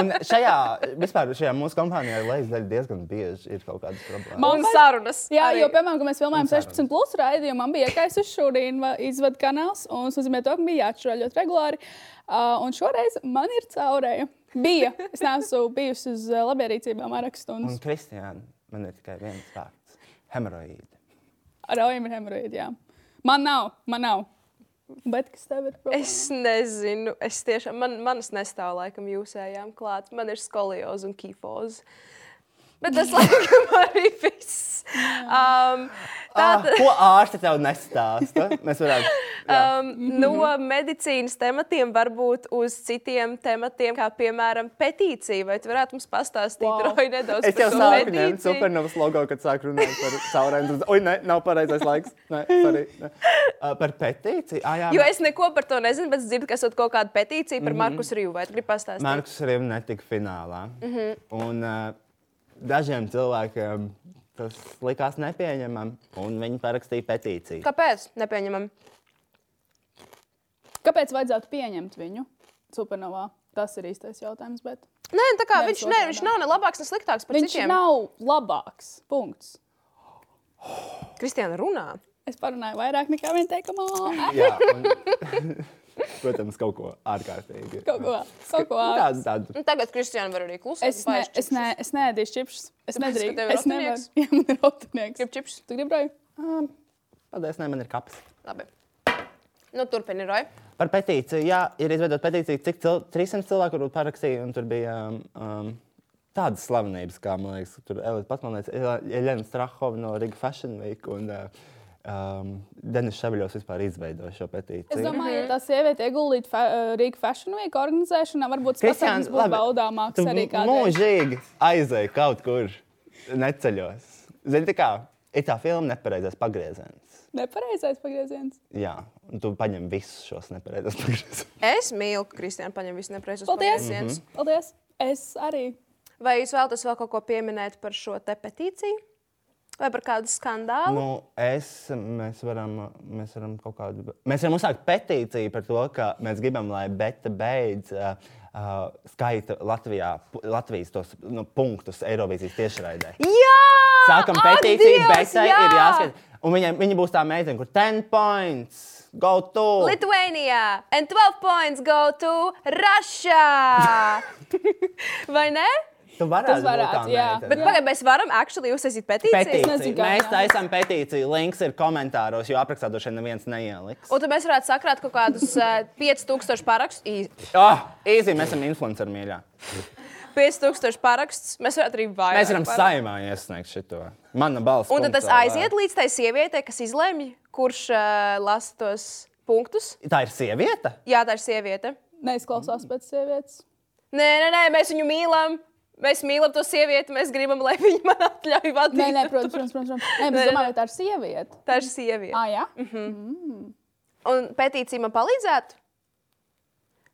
Speaker 2: Un šajā, vispār, šajā mūsu kompānijā lejas diezgan bieži ir kaut kādas problēmas.
Speaker 1: Un
Speaker 3: Mamma-
Speaker 1: sarunas.
Speaker 3: Jā,
Speaker 1: arī.
Speaker 3: jo, piemēram, kad mēs filmējām 16, plus raidījumu, man bija iekaisis šūrīna izvadu kanāls, un tas nozīmē, to, ka man bija jāatšķiro ļoti regulāri. Uh, un šoreiz man ir caurēja. Bija. Es neesmu bijusi uz ā, labierīcībām vairākas
Speaker 2: Un
Speaker 3: stundas.
Speaker 2: Kristiāna, man ir tikai viens vārds - hemoroīdi.
Speaker 3: Ar aujiem ir hemoroīdiem. Man nav, man nav. Bet kas tev ir? problēma?
Speaker 1: Es nezinu, es tiešām, man, manas nestāv laikam jūsējām klāt. Man ir skolioze un kifoze. Bet tas laikam arī viss. Um,
Speaker 2: Ah,
Speaker 1: tātad-
Speaker 2: ko ārste tev nestāsta? Mēs varētu. jā.
Speaker 1: Um, no medicīnas tematiem varbūt uz citiem tematiem, kā piemēram petīcija. Vai tu varētu mums pastāstīt,
Speaker 3: Wow.
Speaker 1: Roja, nedaudz
Speaker 2: Es jau
Speaker 1: šo
Speaker 2: sāku
Speaker 1: petīciju?
Speaker 2: ņemt supernovas logo, kad sāku runāt par caurēm. Oi, nē, nav pareizais laiks. Nē, sorry, nē. Uh, par petīciju. Ah, jā,
Speaker 1: Jo es neko par to nezinu, bet es dzirdu, ka esat kaut kāda petīcija
Speaker 2: Mhm.
Speaker 1: par Markus Rīvu. Vai tu gribi pastāstīt?
Speaker 2: Markus arī netika finālā. Mm -hmm. Un uh, dažiem cilvēkiem tas likās nepieņemami, un viņi parakstīja petīciju.
Speaker 1: Kāpēc? Nepieņemam.
Speaker 3: Kāpēc vajadzētu pieņemt viņu supernovā? Tas ir īstais jautājums. bet
Speaker 1: Nē, tā kā
Speaker 3: Nē,
Speaker 1: viņš,
Speaker 3: es
Speaker 1: ne,
Speaker 3: otrādā.
Speaker 1: viņš nav ne labāks, ne sliktāks par
Speaker 3: Viņš
Speaker 1: citiem.
Speaker 3: nav labāks. Punkts.
Speaker 1: Kristiāna runā.
Speaker 3: Es parunāju vairāk nekā viena teikumā.
Speaker 2: Jā, un, protams, kaut ko ārkārtīgi. Nu,
Speaker 3: Kaut ko, kaut ko ārā.
Speaker 2: Tādu, tādu.
Speaker 1: Un Nu, tagad Kristiāna var arī klusēt.
Speaker 3: Es, ne, es, ne, es neēdīšu čipsus.
Speaker 1: Tāpēc,
Speaker 3: Es
Speaker 1: ka
Speaker 3: nedrīkstu.
Speaker 1: tev ir
Speaker 3: Es nevaru.
Speaker 1: rotinieks?
Speaker 3: Jā, man ir rotinieks.
Speaker 1: Gribu čipsus?
Speaker 3: Tu gribi roju? Um,
Speaker 2: Paldies, nē, man ir kaps.
Speaker 1: Labi. Nu, turpini, Roja.
Speaker 2: Par petīciju. Jā, ir izveidota petīcija, cik cil 300 cilvēku tur parakstīja, un tur bija um, um, tādas slavenības, kā, man liekas, tur Elīte Patmanēca, Elena Strahova no Riga Fashion Week, un uh, um, Denis Šabļovs vispār izveidoja šo petīciju.
Speaker 3: es domāju,
Speaker 1: Mhm.
Speaker 3: ja tā sieviete ieguldītu fa Rīgas Fashion Week organizēšanā, varbūt tas
Speaker 2: Kristiāna,
Speaker 3: pasākums būtu
Speaker 2: labi,
Speaker 3: baudāmāks
Speaker 2: tu
Speaker 3: arī kādreiz.
Speaker 2: Mūžīgi aizēja kaut kur neceļos. Zini, tā kā ir tā filma nepareizais pagrieziens.
Speaker 3: Nepareizais pagrieziens.
Speaker 2: Jā, un tu paņem visus šos nepareizos pagriezienus.
Speaker 1: Es mīlu, ka Kristiāna paņem visu nepreizos
Speaker 3: Paldies!
Speaker 1: pagriezienus.
Speaker 3: Paldies! Es arī.
Speaker 1: Vai jūs vēlaties vēl kaut ko pieminēt par šo te petīciju? Vai par kādu skandālu?
Speaker 2: Nu, es, mēs, varam, mēs varam kaut kādu. Mēs varam uzsākt petīciju par to, ka mēs gribam, lai Beta beidz uh, uh, skaita Latvijā, pu- Latvijas tos nu, punktus Eirovīzijas tiešraidē.
Speaker 1: Jā!
Speaker 2: Sākam
Speaker 1: Ak,
Speaker 2: petīciju,
Speaker 1: Dievs,
Speaker 2: bet tai ir jāskatās. Un viņa, viņa būs tā meitene, kur 10 points, go to!
Speaker 1: Lithuania! And 12 points go to Russia! Vai ne?
Speaker 2: Tu varētu,
Speaker 3: Tas varētu,
Speaker 2: būt tā
Speaker 3: jā.
Speaker 2: meitene.
Speaker 1: Bet pagaidām mēs varam actually uzsākt petīciju.
Speaker 3: Peti-
Speaker 2: Petīcija.
Speaker 3: nezinu, kā
Speaker 2: Mēs
Speaker 3: jā.
Speaker 2: taisām petīciju. Links ir komentāros, jo aprakstā droši vien neviens neieliks.
Speaker 1: Un tad mēs varētu sakrāt kaut kādus eh, 5000 parakstu. Ī-
Speaker 2: Oh, easy, mēs esam influenceri mīļā.
Speaker 1: 5000 parakstus. Mēs varētu arī vairāk.
Speaker 2: Mēs varam
Speaker 1: parakstu.
Speaker 2: saimā iesniegt šo. Mana balss.
Speaker 1: Un tad tas
Speaker 2: punktā,
Speaker 1: aiziet līdz tai sievietei, kas izlemj, kurš uh, lasa tos punktus.
Speaker 2: vai- Tā ir sieviete.
Speaker 1: Jā, tā ir sieviete.
Speaker 3: Neizklausās pēc sievietes.
Speaker 1: Nē, nē, nē, mēs viņu mīlam. Mēs mīlam to sievieti. Mēs gribam, lai viņa man atļauj vadīt.
Speaker 3: Nē, nē, protams, protams, protams. Nē, bet
Speaker 1: Nē,
Speaker 3: es
Speaker 1: nē. Mm.
Speaker 3: domāju, vai tā ir sieviete.
Speaker 1: Tā ir sieviete.
Speaker 3: Ah, jā?
Speaker 1: Un pētīcija man palīdzētu?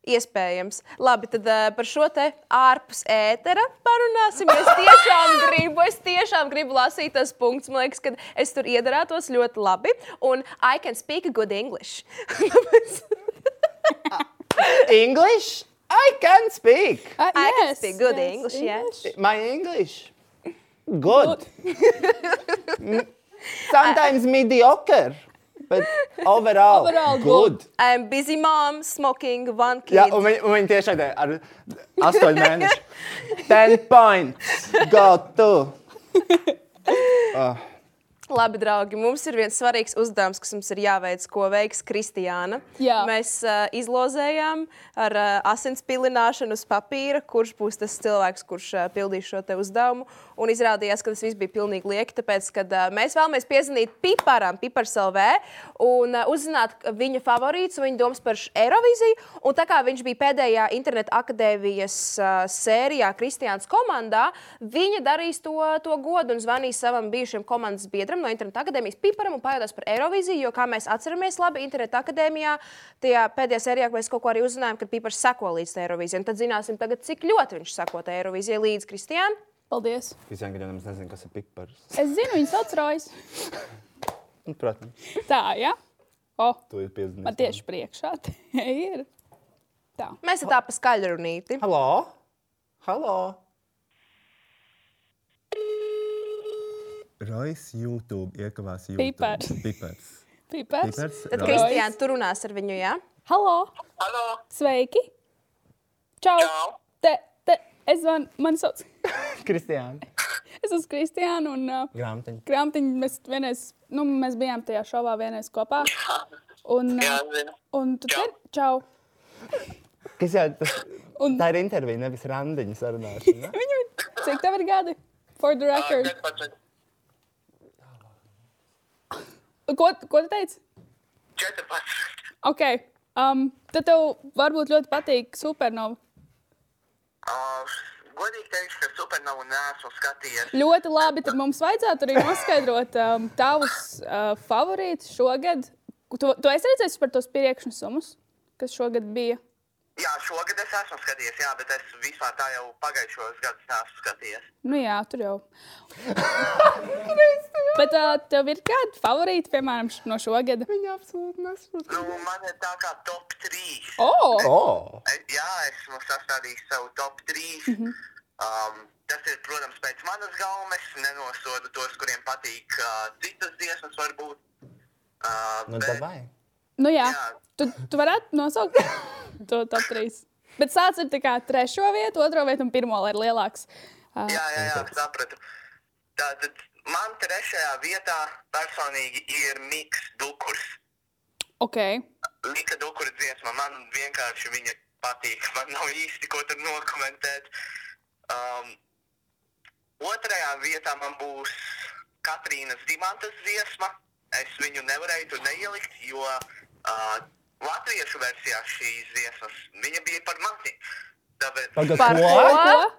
Speaker 1: Iespējams. Labi, tad uh, par šo te ārpus ētera parunāsim. Es tiešām gribu, es tiešām gribu lasīt tas punkts. Man liekas, ka es tur iedarētos ļoti labi. Un I can speak good English.
Speaker 2: English? I can speak.
Speaker 3: Ah,
Speaker 1: I can
Speaker 3: yes,
Speaker 1: speak good
Speaker 3: yes,
Speaker 1: English, yeah.
Speaker 2: My English. Good. Sometimes mediocre. But overall,
Speaker 3: Overall
Speaker 2: good.
Speaker 3: good.
Speaker 1: I'm busy mom, smoking one kid.
Speaker 2: Jā, un viņi, un viņi tiešām tādā ar astoņu mēnešu. Ten points. Ah, Go to.
Speaker 1: Labi, draugi, mums ir viens svarīgs uzdevums, kas mums ir jāveic, ko veiks Kristiāna.
Speaker 3: Jā.
Speaker 1: Mēs uh, izlozējām ar uh, asins pilināšanu uz papīra, kurš būs tas cilvēks, kurš uh, pildīs šo te uzdevumu. Un izrādījās, ka tas viss bija pilnīgi lieki, tāpēc, ka uh, mēs vēlamies piezvanīt Piparam, Pipars LV, un uh, uzzināt ka viņa favorītus, un viņa domas par š- Eiroviziju. Un tā kā viņš bija pēdējā interneta akadēmijas uh, sērijā Kristiāns komandā, viņa darīs to, to godu un zvanīs savam bijušajam komandas biedram no Interneta akadēmijas Piparam un pajautās par Eiroviziju. Jo, kā mēs atceramies, labi, Interneta akadēmijā tajā pēdējā sērijā mēs kaut ko arī uzzinājām, kad Pipars seko līdz tai Eirovizijai. Un Tad zināsim, tagad, cik ļoti viņš seko tai Eirovizijai līdz Kristiānam.
Speaker 3: Paldies.
Speaker 2: Visiem gadiem es nezinu, kas ir pipars.
Speaker 3: Es zinu, viņas atceros.
Speaker 2: Nu, Protams,
Speaker 3: Tā, jā. O,
Speaker 2: tu esi piedzimis.
Speaker 3: man tieši priekšā te ir. Tā.
Speaker 1: Mēs esam tā pa skaļrunīti.
Speaker 2: Halo? Halo? Rojas YouTube iekavās YouTube.
Speaker 3: Pipars.
Speaker 2: Pipars.
Speaker 3: Pipers.
Speaker 2: Pipars.
Speaker 1: Tad,
Speaker 2: Rojas.
Speaker 1: Kristiāna, tu runās ar viņu, jā?
Speaker 3: Halo!
Speaker 6: Halo,
Speaker 3: Sveiki! Čau!
Speaker 6: Čau.
Speaker 3: Te, te, es zvanu, man sauc,
Speaker 2: Kristiāna.
Speaker 3: es esmu Kristiāna un uh,
Speaker 2: Grāmatiņa.
Speaker 3: Kramtiņa. Mēs vienreiz, nu, mēs bijām tajā šovā vienreiz kopā. Un,
Speaker 6: jā,
Speaker 3: uh,
Speaker 6: zinu.
Speaker 3: un tu te, čau!
Speaker 2: Kas jau tas?
Speaker 3: Un-
Speaker 2: e Un... Tā ir intervija, nevis randiņa sarunāšana.
Speaker 3: Viņam ir, cik tev ir gadi? For the record. Ko, ko tu teici?
Speaker 6: 14.
Speaker 3: Ok. Um, tad tev varbūt ļoti patīk supernova.
Speaker 6: Uh, Godīgi teikšu, ka supernovu neesmu skatījies.
Speaker 3: Ļoti labi. Tad mums vajadzētu arī noskaidrot um, tavus uh, favorītus šogad. Tu, tu esi redzējis par tos priekšnesumus, kas šogad bija?
Speaker 6: Jā, šogad es esmu skatījies, jā, bet es vispār tā jau pagājušos gadus neesmu skatījies.
Speaker 3: Nu jā, tur jau. Bet uh, tev ir kādi favorīti, piemēram, š- no šogad?
Speaker 2: Viņa absolūti nesaprot.
Speaker 6: Nu, man ir tā kā top 3.
Speaker 3: Oh!
Speaker 2: Oh.
Speaker 6: E- Jā, esmu sastādījis savu top 3. Mm -hmm. um, tas ir, protams, pēc manas gaumes. Nenosodu tos, kuriem patīk uh, citas dziesmas, varbūt. Uh,
Speaker 2: Nu, davai.
Speaker 3: Nu jā,
Speaker 6: Jā.
Speaker 3: tu, tu varētu nosaukt to top 3. Bet sāc ar tā kā trešo vietu, otro vietu un pirmo, lai ir lielāks. Uh,
Speaker 6: jā, jā, jā, sapratu. Tātad man trešajā vietā personīgi ir Miks Dukurs.
Speaker 3: ok,
Speaker 6: Mika Dukura dziesma man vienkārši viņa patīk. Man nav īsti ko tur nokomentēt. Um, otrajā vietā man būs Katrīnas Dimantas dziesma. Es viņu nevarēju tur neielikt, jo uh, latviešu versijā šīs dziesmas viņa bija par mani. Tāpēc
Speaker 2: Pagad,
Speaker 1: Par
Speaker 2: ko?
Speaker 1: ko?
Speaker 3: Ko?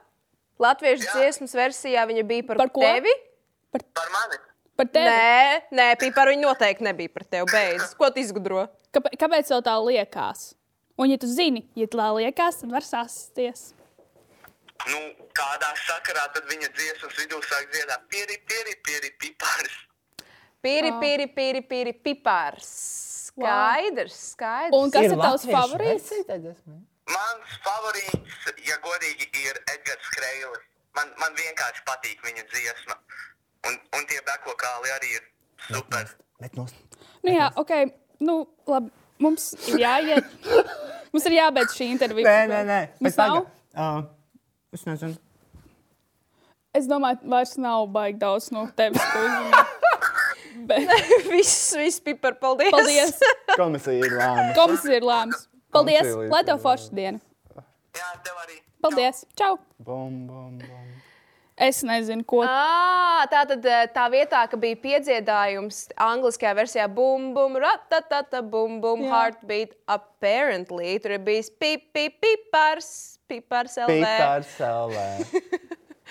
Speaker 1: Latviešu dziesmas versijā viņa bija par,
Speaker 3: Par ko?
Speaker 1: tevi.
Speaker 6: par mani.
Speaker 3: par tevi.
Speaker 1: Nē, nē, bija par viņu noteikti nebija par tevi. Beidz, ko tu izgudro?
Speaker 3: Kāpēc, kāpēc tev tā liekas? Un, ja tu zini, ja tā liekas, tad var sasties.
Speaker 6: Nu, kādā sakarā tad viņa dziesmas vidū sāk dziedāt pieri, pieri, pieri, pipārs.
Speaker 1: Pīri,
Speaker 3: Oh.
Speaker 1: pīri, pīri, pīri, pipārs. Skaidrs, skaidrs.
Speaker 3: Un kas
Speaker 2: Ir
Speaker 3: ir, ir tavs
Speaker 2: latviešu
Speaker 3: favorīts?
Speaker 2: versija tā dziesma?
Speaker 6: Mans favorīts, ja godīgi, ir Edgars Kreilis. Man, man vienkārši patīk viņa dziesma. Un, un tie beko kāli arī ir super.
Speaker 2: Bet nost.
Speaker 3: Nu, jā, ok. Nu, labi. Mums ir jāiet. Mums ir jābeidz šī intervija.
Speaker 2: Nē, nē, nē.
Speaker 3: Mums nav.
Speaker 2: Uh, es nezinu.
Speaker 3: Es domāju, vairs nav baigi daudz no tevis. ko uzzināt. Bet,
Speaker 1: Viss, viss pipar, paldies.
Speaker 3: paldies.
Speaker 2: Komisija ir lēma.
Speaker 3: Komisija ir lēmums. Paldies.
Speaker 2: Komisija
Speaker 3: Lai
Speaker 2: ir
Speaker 3: tev forša diena.
Speaker 6: Jā, tev arī.
Speaker 3: Paldies. Čau.
Speaker 2: Bum, bum, bum.
Speaker 3: Es nezinu, ko.
Speaker 1: À, tā tad eh, tā vietā, ka bija piedziedājums angliskajā versijā, bum, bum, ratatata, bum, bum,
Speaker 3: Jā.
Speaker 1: heartbeat. Apparently, tur ir bijis pip, pip, pipars, pipars, LV.
Speaker 2: Pipārs salē.
Speaker 3: Pi-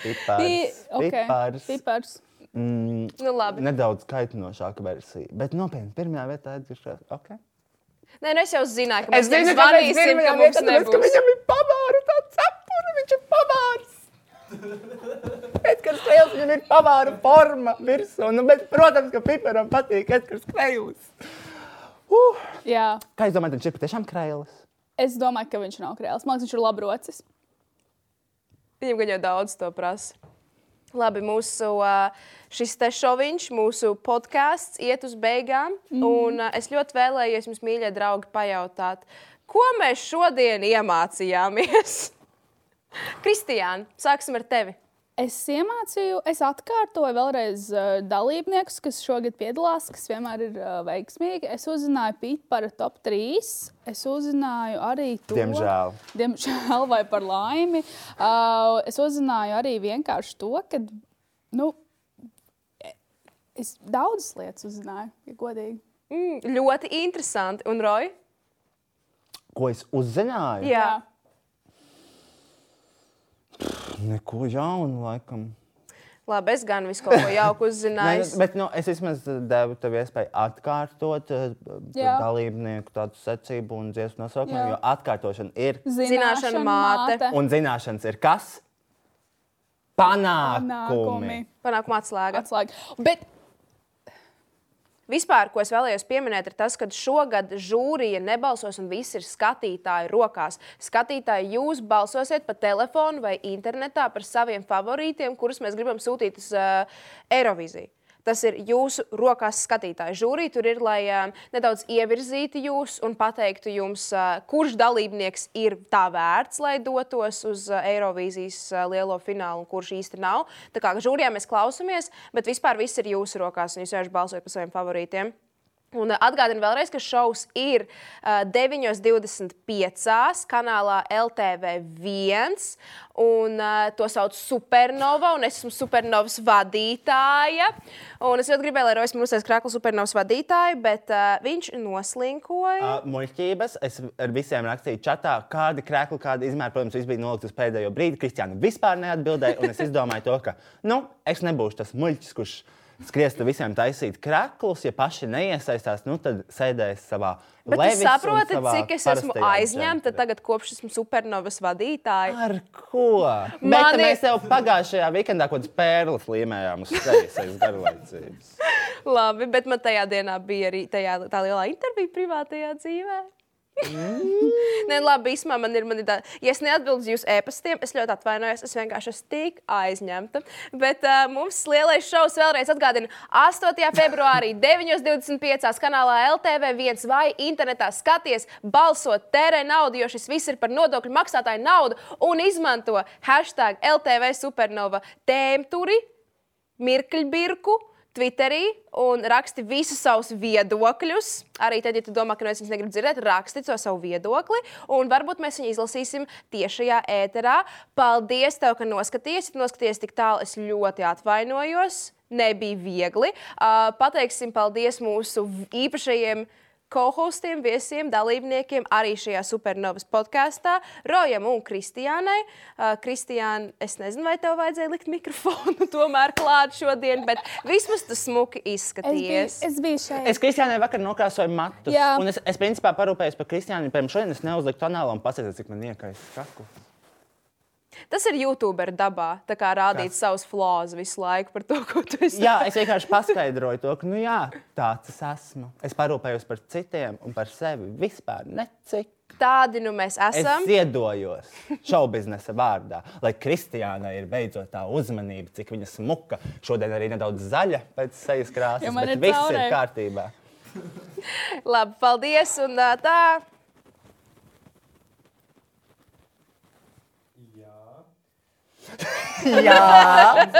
Speaker 2: Pipārs.
Speaker 3: ok.
Speaker 2: Pipārs.
Speaker 3: Pipars.
Speaker 2: Mm,
Speaker 1: Nu, labi.
Speaker 2: nedaudz kaitinošāka versija. Bet nopietni, pirmajā vietā atgriežas. Okay.
Speaker 1: Nē, nu, es jau zināju, ka mēs tam zvanīsim, ka mums nebūs.
Speaker 2: viņam ir pavāra tā cepura, viņš ir pavārs. Edgars Kreils, viņam ir pavāra forma virsū. Nu, bet, protams, ka Piperam patīk Edgars Kreils. Uh,
Speaker 3: Jā.
Speaker 2: kā jūs domājat, viņš ir patiešām Kreils?
Speaker 3: Es domāju, ka viņš nav krēls. Man liekas, viņš ir labrocis.
Speaker 1: Viņam gan jau daudz to prasa. Labi, mūsu ā, šis te šoviņš, mūsu podkāsts iet uz beigām. Mm. Un ā, es ļoti vēlējos jums, mīļie draugi, pajautāt, ko mēs šodien iemācījāmies? Kristiāna, sāksim ar tevi.
Speaker 3: Es iemācīju, es atkārtoju vēlreiz uh, dalībniekus, kas šogad piedalās, kas vienmēr ir uh, veiksmīgi. Es uzzināju pīt par top 3. Es uzzināju arī to,
Speaker 2: Diemžēl.
Speaker 3: diemžēl vai par laimi. Uh, es uzzināju arī vienkārši to, ka nu, e- es daudzas lietas uzzināju, ja godīgi.
Speaker 1: Mm, ļoti interesanti. Un Roja?
Speaker 2: Ko es uzzināju?
Speaker 1: Jā.
Speaker 2: Neko jaunu, laikam.
Speaker 1: Labi, es gan visu kaut ko jauku
Speaker 2: Nē,
Speaker 1: uzzināju.
Speaker 2: bet nu, es vismaz eh, devu tev iespēju atkārtot eh,
Speaker 3: Jā.
Speaker 2: dalībnieku tādu secību un dziesmu nosaukumu,
Speaker 3: Jā.
Speaker 2: jo atkārtošana ir
Speaker 1: Zināšana māte.
Speaker 2: Un zināšanas ir kas? Panākumi.
Speaker 3: Nākumi.
Speaker 1: Panākumā atslēga.
Speaker 3: Atslēga. Bet
Speaker 1: Vispār, ko es vēlējos pieminēt, ir tas, ka šogad žūrija nebalsos un viss ir skatītāju rokās. Skatītāji, jūs balsosiet pa telefonu vai internetā par saviem favorītiem, kurus mēs gribam sūtīt uz uh, Eiroviziju. Tas ir jūsu rokās skatītāji. Žūrija tur ir, lai uh, nedaudz ievirzītu jūs un pateiktu jums, uh, kurš dalībnieks ir tā vērts, lai dotos uz uh, Eirovizijas uh, lielo finālu un kurš īsti nav. Tā kā žūrijā mēs klausāmies, bet vispār viss ir jūsu rokās un jūs vienkārši balsojat par saviem favorītiem. Un ā, atgādinu vēlreiz, ka šovs ir eh, ā, 9.25. kanālā LTV1. Un, ā, to sauc par Supernova, un es esmu Supernovas vadītāja. Un es ļoti gribēju, lai Rojas mums ir krāklis Supernovas vadītāja, bet ā, viņš noslinkoja.
Speaker 2: Uh, Muļķības. Es ar visiem rakstīju čatā, kāda krēkla, kāda izmēra, protams, viss bija nolikts uz pēdējo brīdi. Kristiāna vispār neatbildēja, un es izdomāju to, ka, nu, es nebūšu tas muļķis, kurš skriestu visiem taisīt krēklus, ja paši neiesaistās, nu, tad sēdēs savā
Speaker 1: Bet
Speaker 2: levis
Speaker 1: jūs
Speaker 2: un
Speaker 1: saprotat,
Speaker 2: savā
Speaker 1: cik es esmu
Speaker 2: parastajā
Speaker 1: aizņemta
Speaker 2: džemplerī.
Speaker 1: tagad, kopš esmu supernovas vadītāja.
Speaker 2: Ar ko?
Speaker 1: Mani-
Speaker 2: Mani... Mēs jau pagājušajā weekendā kaut kādas pērles līmējām uz sejas aiz garlaicības.
Speaker 1: Labi, bet man tajā dienā bija arī tajā, tā lielā intervija privātajā dzīvē. Nē, labi, īsumā man ir, man ir tā, ja es neatbildu uz jūsu e-pastiem, es ļoti atvainojos, es vienkārši esmu tik aizņemta. Bet uh, mums lielais šovs vēlreiz atgādina 8. februārī 9.25. kanālā LTV1 vai internetā skaties, balsot, tērē naudu, jo šis viss ir par nodokļu maksātāju naudu un izmanto hashtag LTV supernova tēmturi mirkļbirku, Twitterī un raksti visus savus viedokļus. Arī tad, ja tu domā, ka no es viņus negribu dzirdēt, raksti to savu viedokli. Un varbūt mēs viņu izlasīsim tiešajā ēterā. Paldies, tev, ka noskaties. Ja tu noskaties tik tālu, es ļoti atvainojos. Nebija viegli. Uh, pateiksim paldies mūsu v- īpašajiem kohostiem, viesiem, dalībniekiem arī šajā supernovas podkāstā, Rojam un Kristiānai. Uh, Kristiāna, es nezinu, vai tev vajadzēja likt mikrofonu tomēr klāt šodien, bet vismaz tu smuki
Speaker 3: Es biju,
Speaker 1: izskaties.
Speaker 3: es biju šeit.
Speaker 2: Es Kristiānai vakar nokrāsoju matus.
Speaker 3: Jā.
Speaker 2: Un es, es principā parūpējos par Kristiānu. Pirms šodien es neuzliku kanālu un paskatījos, cik man iekais skatu.
Speaker 1: Tas ir YouTube dabā, tā kā rādīt savus flāzi visu laiku par to, ko tu esi.
Speaker 2: Jā, es vienkārši paskaidroju to, ka, nu jā, tāds es esmu. Es parūpējos par citiem un par sevi vispār necik.
Speaker 1: Tādi nu mēs
Speaker 2: Es
Speaker 1: esam.
Speaker 2: iedojos šaubu biznesa vārdā, lai Kristiānai ir beidzot tā uzmanība, cik viņa smuka. Šodien arī nedaudz zaļa pēc sejas krāsas,
Speaker 3: Jo man
Speaker 2: bet
Speaker 3: ir
Speaker 2: viss ir
Speaker 3: caurē.
Speaker 2: kārtībā.
Speaker 1: Labi, paldies un ā, tā.
Speaker 2: Jā!